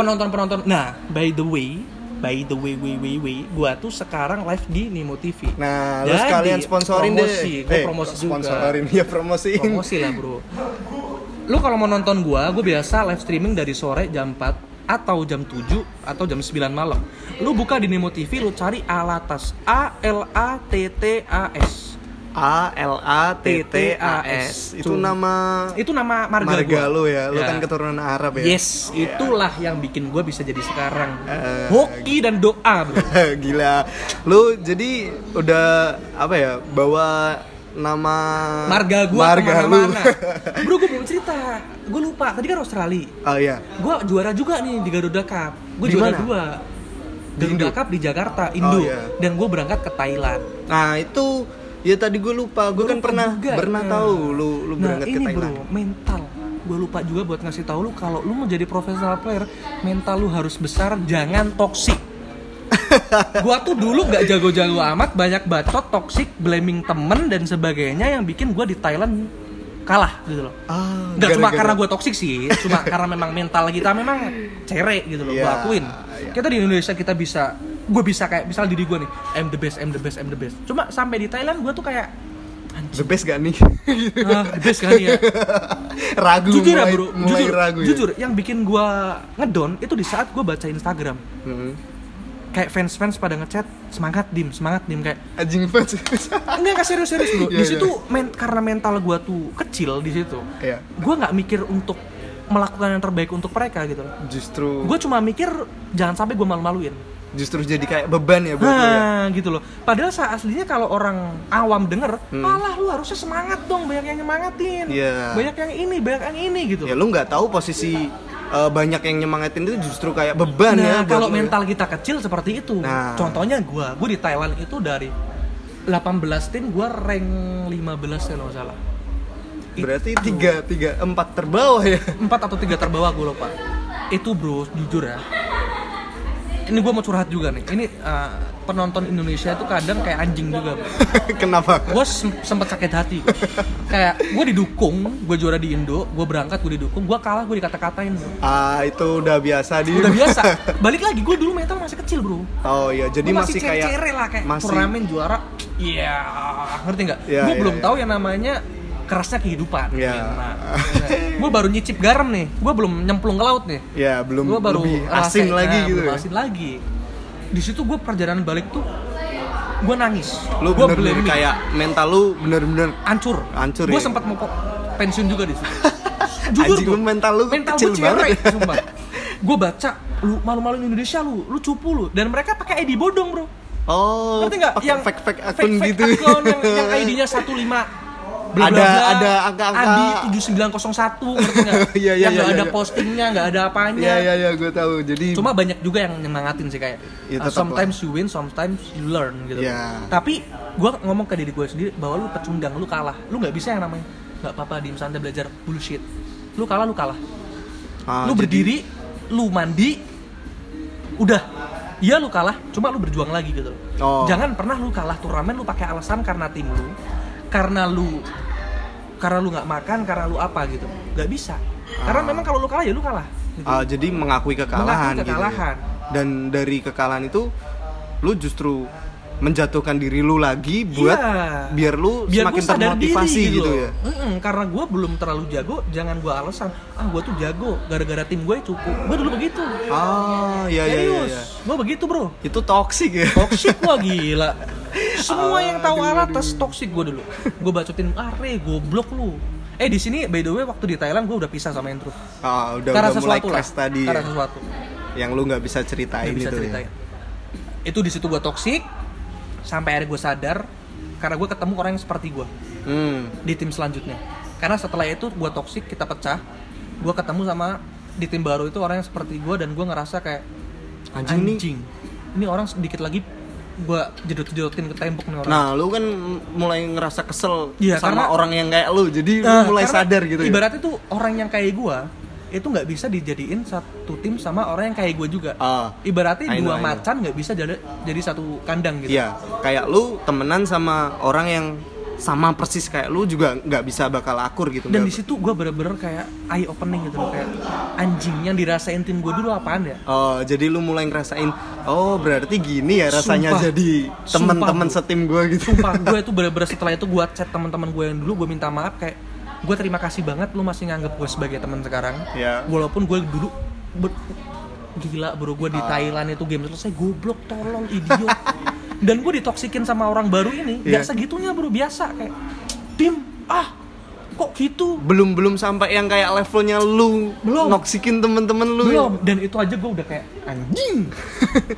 B: penonton-penonton. Nah, by the way, by the way, way, way, way, gue tuh sekarang live di Nimo TV.
A: Nah, lu
B: Jadi,
A: sekalian sponsorin
B: promosi,
A: deh.
B: Gue
A: Eh,
B: promosi juga.
A: Sponsorin, ya promosiin.
B: promosi lah bro lu kalau mau nonton gua gua biasa live streaming dari sore jam 4 atau jam 7 atau jam 9 malam lu buka di Nemo TV lu cari Alatas A L A T T A S
A: A L A T T A S.
B: TTAS.
A: Itu nama
B: itu nama marga,
A: marga
B: gua.
A: lu ya. Lu kan keturunan Arab ya.
B: yes itulah yang bikin gua bisa jadi sekarang
A: Eh.
B: hoki dan doa bro
A: Gila. Lu jadi udah apa ya? Bawa nama
B: marga gua
A: marga lu.
B: kemana-mana bro gua belum cerita gua lupa tadi kan Australia
A: oh iya.
B: gue juara juga nih di Garuda Cup
A: Di
B: gue juara
A: mana?
B: dua
A: Di
B: Garuda
A: Indo?
B: Cup di Jakarta Indo
A: iya.
B: dan gue berangkat ke Thailand
A: Nah, itu ya tadi gue lupa. Gue kan
B: Lupa
A: pernah
B: juga,
A: pernah
B: ya.
A: tahu lu lu
B: nah,
A: berangkat ke
B: ini
A: Thailand.
B: bro mental gue lupa juga buat ngasih tahu lu kalau lu mau jadi profesional player mental lu harus besar jangan toksik gua tuh dulu gak jago-jago amat banyak bacot toksik blaming temen dan sebagainya yang bikin gua di Thailand kalah gitu loh
A: Ah,
B: Enggak cuma
A: gara-gara.
B: karena gue toksik sih, cuma karena memang mental kita memang cerek gitu loh, gue
A: Iya,
B: akuin.
A: iya.
B: Kita di Indonesia kita bisa, gue bisa kayak misal diri gue nih, I'm the best, I'm the best, I'm the best. Cuma sampai di Thailand gue tuh kayak,
A: the best gak nih?
B: ah, the best kan ya.
A: ragu
B: jujur ya
A: mulai,
B: bro,
A: mulai
B: jujur,
A: ragu ya.
B: jujur, yang bikin gue ngedon itu di saat gue baca Instagram,
A: Hmm.
B: kayak fans-fans pada ngechat, semangat dim, semangat dim kayak,
A: Anjing fans.
B: enggak enggak serius-serius bro.
A: Iya,
B: Di
A: iya.
B: situ men- karena mental gue tuh kecil di situ,
A: Iya.
B: gue nggak mikir untuk melakukan yang terbaik untuk mereka gitu loh.
A: justru
B: gue cuma mikir jangan sampai gue malu-maluin
A: justru jadi kayak beban ya buat lu ya.
B: Hah, gitu loh padahal saat aslinya kalau orang awam denger
A: Hmm.
B: malah lu harusnya semangat dong banyak yang nyemangatin
A: Iya.
B: banyak yang ini banyak yang ini gitu
A: ya lu nggak tahu posisi uh, banyak yang nyemangatin itu justru kayak beban ya
B: nah
A: buat
B: kalau
A: lu ya.
B: mental kita kecil seperti itu
A: Nah.
B: contohnya gue gue di Thailand itu dari 18 tim gue rank 15 kalau nggak salah
A: berarti tiga tiga empat terbawah ya
B: empat atau tiga terbawah gue lupa itu bro jujur ya ini gue mau curhat juga nih ini eh, penonton Indonesia itu kadang kayak anjing juga bro.
A: kenapa
B: gue sempet sakit hati Gus. kayak gue didukung gue juara di Indo gue berangkat gue didukung gue kalah gue dikata-katain bro.
A: ah itu udah biasa di
B: udah biasa balik lagi gue dulu mental masih kecil bro
A: oh iya jadi
B: Gua
A: masih, kayak
B: cere-cere lah kayak
A: masih
B: turnamen juara iya ngerti nggak
A: Iya,
B: gue
A: iya,
B: belum
A: iya.
B: tahu yang namanya kerasnya kehidupan
A: Iya.
B: gue baru nyicip garam nih gue belum nyemplung ke laut nih
A: ya belum
B: gue baru
A: lebih asin
B: rasain,
A: lagi
B: nah,
A: gitu
B: belum
A: ya
B: asin lagi di situ gue perjalanan balik tuh gue nangis
A: lu
B: gue
A: bener-bener kayak mental lu bener-bener
B: hancur
A: Hancur
B: gue
A: ya?
B: sempat mau po- pensiun juga di situ
A: Anjing, lu mental lu kecil banget ya.
B: gue baca lu malu-maluin Indonesia lu lu cupu lu dan mereka pakai edi bodong bro
A: Oh,
B: Ngerti nggak?
A: pakai fake-fake akun
B: fake-fake
A: gitu.
B: akun yang, yang ID-nya 15 bla, bla,
A: Ada-
B: bla,
A: ada angka-angka.
B: Adi 7901 ngerti nggak?
A: Iya, iya,
B: yang nggak
A: iya,
B: ada
A: iya.
B: postingnya, nggak ada apanya.
A: Iya iya iya gue tahu. Jadi
B: Cuma banyak juga yang nyemangatin sih kayak
A: Ya,
B: uh,
A: tetap
B: sometimes you win, sometimes you learn gitu.
A: Ya.
B: Tapi gua ngomong ke diri gue sendiri bahwa lu pecundang, lu kalah. Lu nggak bisa yang namanya nggak apa-apa diem santai belajar bullshit. Lu kalah, lu kalah.
A: Ah,
B: lu
A: jadi-
B: berdiri, lu mandi, udah. Iya lu kalah, cuma lu berjuang lagi gitu. loh.
A: Oh.
B: Jangan pernah lu kalah turnamen lu pakai alasan karena tim lu, karena lu karena lu nggak makan, karena lu apa gitu. Gak bisa. Karena memang kalau lu kalah ya lu kalah. Gitu.
A: Ah, jadi mengakui kekalahan, gitu
B: Mengakui
A: ya.
B: kekalahan.
A: Dan dari kekalahan itu lu justru menjatuhkan diri lu lagi buat
B: Iya.
A: biar lu
B: Biar
A: semakin
B: gua sadar
A: termotivasi
B: diri,
A: gitu,
B: loh.
A: ya.
B: Mm-mm, karena gue belum terlalu jago, jangan gue alasan. Ah gue tuh jago, gara-gara tim gue cukup. Gue dulu begitu.
A: Ah, iya iya iya.
B: Serius,
A: iya.
B: gue begitu bro.
A: Itu toksik ya.
B: toxic gua gila semua yang tahu
A: Aduh,
B: alatas toxic gua dulu gua bacotin are goblok lu eh di sini by the way waktu di Thailand gua udah pisah sama intro
A: Ah, udah
B: karena
A: udah mulai
B: sesuatu lah
A: crash tadi.
B: karena
A: ya.
B: sesuatu
A: Yang lu nggak bisa ceritain
B: nggak bisa
A: itu
B: ceritain
A: ya.
B: itu di situ gua toxic sampai akhirnya gua sadar karena gua ketemu orang yang seperti gua
A: Hmm.
B: di tim selanjutnya karena setelah itu gua toxic kita pecah gua ketemu sama di tim baru itu orang yang seperti gua dan gua ngerasa kayak
A: Anjing nih.
B: ini orang sedikit lagi gua jedot-jedotin ke tembok nih orang
A: Nah, lu kan mulai ngerasa kesel
B: Iya,
A: sama
B: karena-
A: orang yang kayak lu. Jadi
B: Nah,
A: lu mulai
B: karena
A: sadar gitu ya.
B: Ibaratnya tuh orang yang kayak gua itu nggak bisa dijadiin satu tim sama orang yang kayak gua juga.
A: Ah.
B: Ibaratnya
A: I know, I
B: dua
A: know.
B: macan nggak bisa jadi jadi satu kandang gitu.
A: Iya, kayak lu temenan sama orang yang sama persis kayak lu juga nggak bisa bakal akur gitu.
B: Dan di
A: nggak-
B: situ gua bener-bener kayak eye opening gitu loh kayak anjing yang dirasain tim gua dulu apaan ya?
A: Oh, jadi lu mulai ngerasain, oh berarti gini ya rasanya
B: Sumpah.
A: jadi teman-teman
B: Sumpah, Bu.
A: setim gua gitu.
B: Sumpah gue tuh bener-bener setelah itu gua chat teman-teman gue yang dulu gue minta maaf kayak gue terima kasih banget lu masih nganggap gue sebagai teman sekarang.
A: Iya.
B: Walaupun gue dulu ber- gila bro gue di
A: Ah.
B: Thailand itu game selesai goblok tolol idiot. Dan gue ditoksikin sama orang baru ini.
A: Iya.
B: Gak segitunya bro biasa kayak tim ah kok gitu
A: Belum belum sampai yang kayak levelnya lu
B: Belum.
A: noksikin temen-temen lu. ya?
B: belum dan itu aja gue udah kayak anjing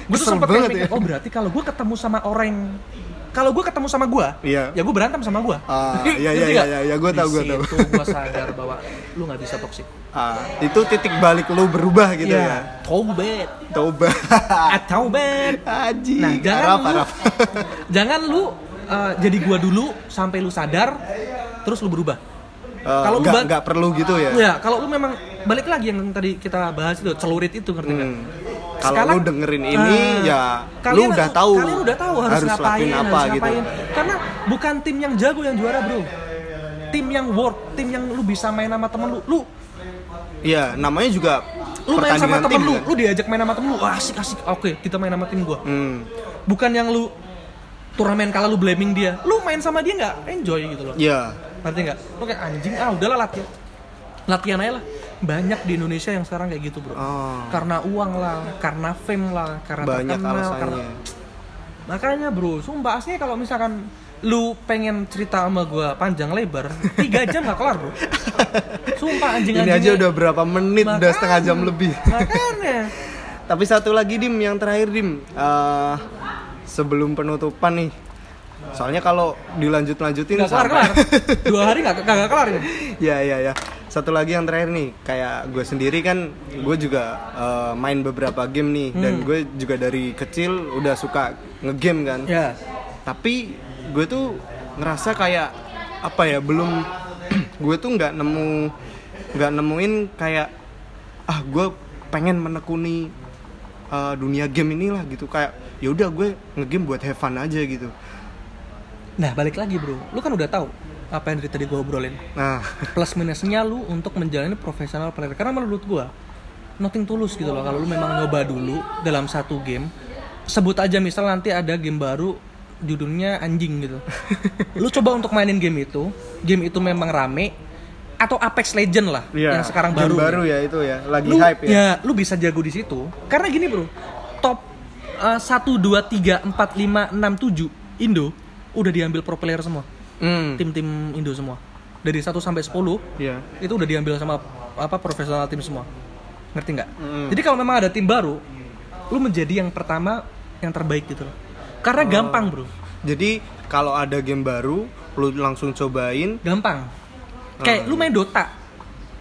B: gue tuh
A: Kesel
B: sempat
A: banget
B: kayak mikir,
A: ya.
B: oh berarti kalau gue ketemu sama orang yang- kalau gue ketemu sama gue
A: Iya.
B: ya gue berantem sama Gitu gue
A: Ah, iya, iya, iya, iya, iya, gua tahu, gua tahu.
B: itu gue sadar bahwa lu nggak bisa toksik
A: Ah, itu titik balik lu berubah gitu
B: Iya.
A: ya.
B: taubat
A: Toba.
B: Ah, taubat
A: Aji. Ah,
B: nah jangan
A: Arab,
B: lu
A: Arab.
B: jangan lu eh, jadi gue dulu sampai lu sadar terus lu berubah
A: Eh,
B: kalau lu
A: nggak-
B: ba-
A: nggak perlu gitu ya.
B: Ya, kalau lu memang balik lagi yang tadi kita bahas itu celurit itu ngerti nggak? Ah,
A: Hmm. Kalau lu dengerin ini, ya lu
B: kalian
A: udah
B: harus-
A: tahu
B: Kalian udah tahu harus,
A: harus
B: ngapain,
A: lakuin apa
B: harus
A: gitu.
B: ngapain. Karena bukan tim yang jago yang juara, Bro. Tim yang worth, tim yang lu bisa main sama temen lu. Lu
A: Iya, namanya juga
B: lu main sama
A: pertandingan
B: temen
A: tim
B: lu,
A: kan?
B: lu diajak main sama temen lu. Wah, asik asik. Oke, kita main sama tim gua.
A: Hmm.
B: Bukan yang lu turnamen kalah lu blaming dia. Lu main sama dia nggak enjoy gitu loh.
A: Iya.
B: Ngerti nggak? Lu kayak anjing, ah udahlah latihan. Latihan aja lah. Banyak di Indonesia yang sekarang kayak gitu, Bro.
A: Oh,
B: karena uang lah, karena fame lah, karena
A: banyak
B: terkenal,
A: alasannya.
B: karena- Makanya bro, sumpah asli kalau misalkan lu pengen cerita sama gua panjang lebar, 3 jam gak kelar bro. Sumpah anjing
A: Ini aja udah berapa menit, udah setengah jam lebih.
B: Makanya.
A: Tapi satu lagi Dim, yang terakhir Dim. Eh, sebelum penutupan nih. Soalnya kalau dilanjut-lanjutin
B: Gak kelar
A: sampai-
B: kelar. Dua hari gak, gak, gak kelar ini.
A: Ya ya ya. Satu lagi yang terakhir nih, kayak gue sendiri kan, gue juga eh, main beberapa game nih, dan gue juga dari kecil udah suka ngegame kan.
B: Ya.
A: Tapi gue tuh ngerasa kayak apa ya, belum gue tuh nggak nemu nggak nemuin kayak ah gue pengen menekuni eh, dunia game inilah gitu kayak ya udah gue ngegame buat have fun aja gitu.
B: Nah balik lagi bro, lu kan udah tahu apa yang dari tadi gua obrolin.
A: Nah,
B: Plus minusnya lu untuk menjalani profesional player. Karena menurut gua nothing tulus gitu loh. Kalau lu memang nyoba dulu dalam satu game, sebut aja misal nanti ada game baru judulnya anjing gitu. lu coba untuk mainin game itu, game itu memang rame atau Apex Legend lah
A: iya,
B: yang sekarang
A: game
B: baru. gitu.
A: baru ya itu ya, lagi
B: Lu,
A: hype ya.
B: ya, lu bisa jago di situ. Karena gini, Bro. Top eh, 1 2 3 4 5 6 7 Indo udah diambil pro player semua.
A: Hmm.
B: Tim-tim Indo semua. Dari 1 sampai 10
A: Iya.
B: itu udah diambil sama apa profesional tim semua
A: Hmm.
B: ngerti nggak jadi kalau memang ada tim baru lu menjadi yang pertama yang terbaik gitu loh Karena
A: Oh.
B: gampang, Bro.
A: Jadi kalau ada game baru, lu langsung cobain.
B: Gampang. Kayak
A: Hmm.
B: lu main Dota,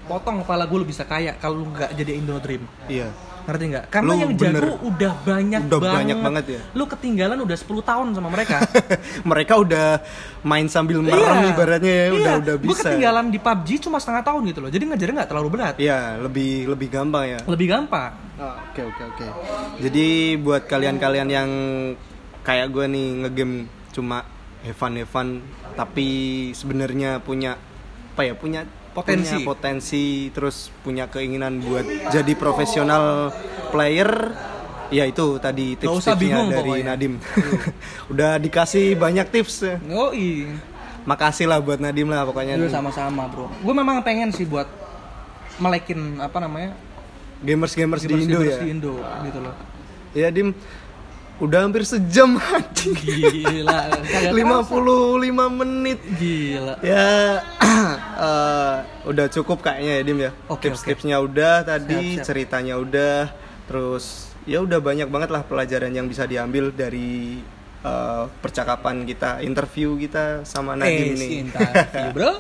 B: potong kepala gue lu bisa kaya kalau lu nggak jadi Indo Dream.
A: Iya.
B: Ngerti nggak? Karena
A: Lu
B: yang jago
A: bener.
B: udah banyak
A: Udah
B: banget.
A: banyak banget ya.
B: Lu ketinggalan udah 10 tahun sama mereka.
A: Mereka udah main sambil merem ibaratnya ya, udah udah
B: Gue
A: bisa.
B: Iya. ketinggalan di PUBG cuma setengah tahun gitu loh. Jadi ngajarnya nggak terlalu berat.
A: Iya, lebih lebih gampang ya.
B: Lebih gampang.
A: Ah, Oke oke oke. Jadi buat kalian-kalian yang kayak gue nih ngegame cuma Evan Evan tapi sebenarnya punya apa ya punya
B: Potensi.
A: punya potensi terus punya keinginan buat jadi profesional player ya itu tadi
B: Nggak usah
A: tips-tipsnya
B: bingung
A: dari
B: pokoknya. Hmm.
A: Nadim udah dikasih banyak tips
B: Yoi.
A: makasih lah buat Nadim lah pokoknya
B: Lu Iya, sama-sama, Bro. Gue memang pengen sih buat melekin apa namanya?
A: gamers gamers di Indo
B: gamers
A: ya
B: Di Indo gitu loh.
A: ya Dim udah hampir sejam anjing
B: Gila. kagak
A: 55 menit
B: terasa. Gila.
A: ya eh, udah cukup kayaknya ya Dim ya
B: Oh, Oke, oke.
A: tips-tipsnya udah tadi
B: Siap, siap.
A: ceritanya udah terus ya udah banyak banget lah pelajaran yang bisa diambil dari eh, percakapan kita interview kita sama Nadim
B: Eh,
A: nih
B: cinta, Bro.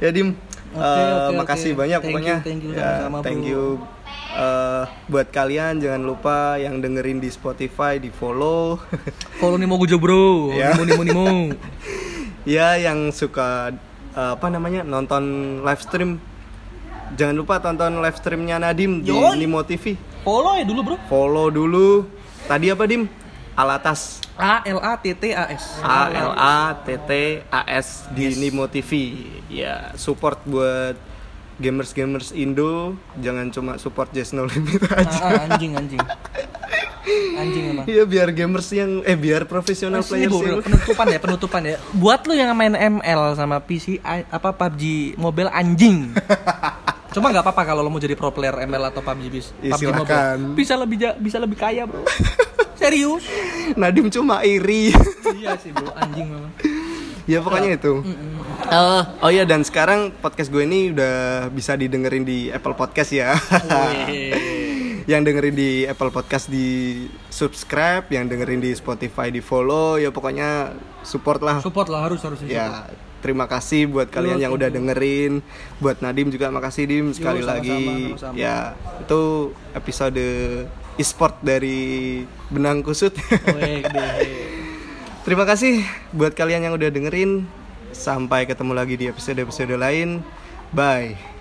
A: ya Dim
B: Oke,
A: eh,
B: oke,
A: makasih
B: oke.
A: banyak
B: Thank you,
A: pokoknya
B: thank you,
A: Ya,
B: sama-sama,
A: thank
B: Bro.
A: you Eh, buat kalian jangan lupa yang dengerin di Spotify di follow
B: Follow Nimo Gujo, Bro.
A: Ya.
B: Nimo Nimo Nimo.
A: Ya yang suka eh, apa namanya nonton live stream jangan lupa tonton live streamnya Nadim di
B: Yoi.
A: Nimo TV
B: Follow ya dulu, Bro.
A: follow dulu tadi apa Dim Alatas
B: A L A T T A S.
A: A L A T T A S di Nimo TV ya support buat gamers gamers Indo jangan cuma support Just No Limit aja
B: Ah, anjing anjing. Anjing emang.
A: Iya biar gamers yang eh biar profesional
B: Ini
A: players
B: bu,
A: yang-
B: penutupan ya, penutupan ya. Buat lu yang main ML sama PC a- apa PUBG Mobile anjing. Cuma nggak apa-apa kalau lo mau jadi pro player ML atau PUBG bis.
A: Ya,
B: PUBG Mobile.
A: silakan.
B: Bisa lebih ja- bisa lebih kaya, Bro. Serius?
A: Nadim cuma iri
B: iya sih, Bro, anjing memang.
A: ya pokoknya
B: Oh.
A: itu Eh, oh iya dan sekarang podcast gue ini udah bisa didengerin di Apple Podcast ya yang dengerin di Apple Podcast di subscribe yang dengerin di Spotify di follow ya pokoknya support lah
B: Support lah harus harus
A: ya terima kasih buat kalian yang udah dengerin buat Nadim juga makasih Dim sekali
B: sama-sama,
A: lagi
B: sama-sama.
A: ya itu episode e-sport dari benang kusut
B: Weh, deh.
A: Terima kasih buat kalian yang udah dengerin. Sampai ketemu lagi di episode-episode lain. Bye.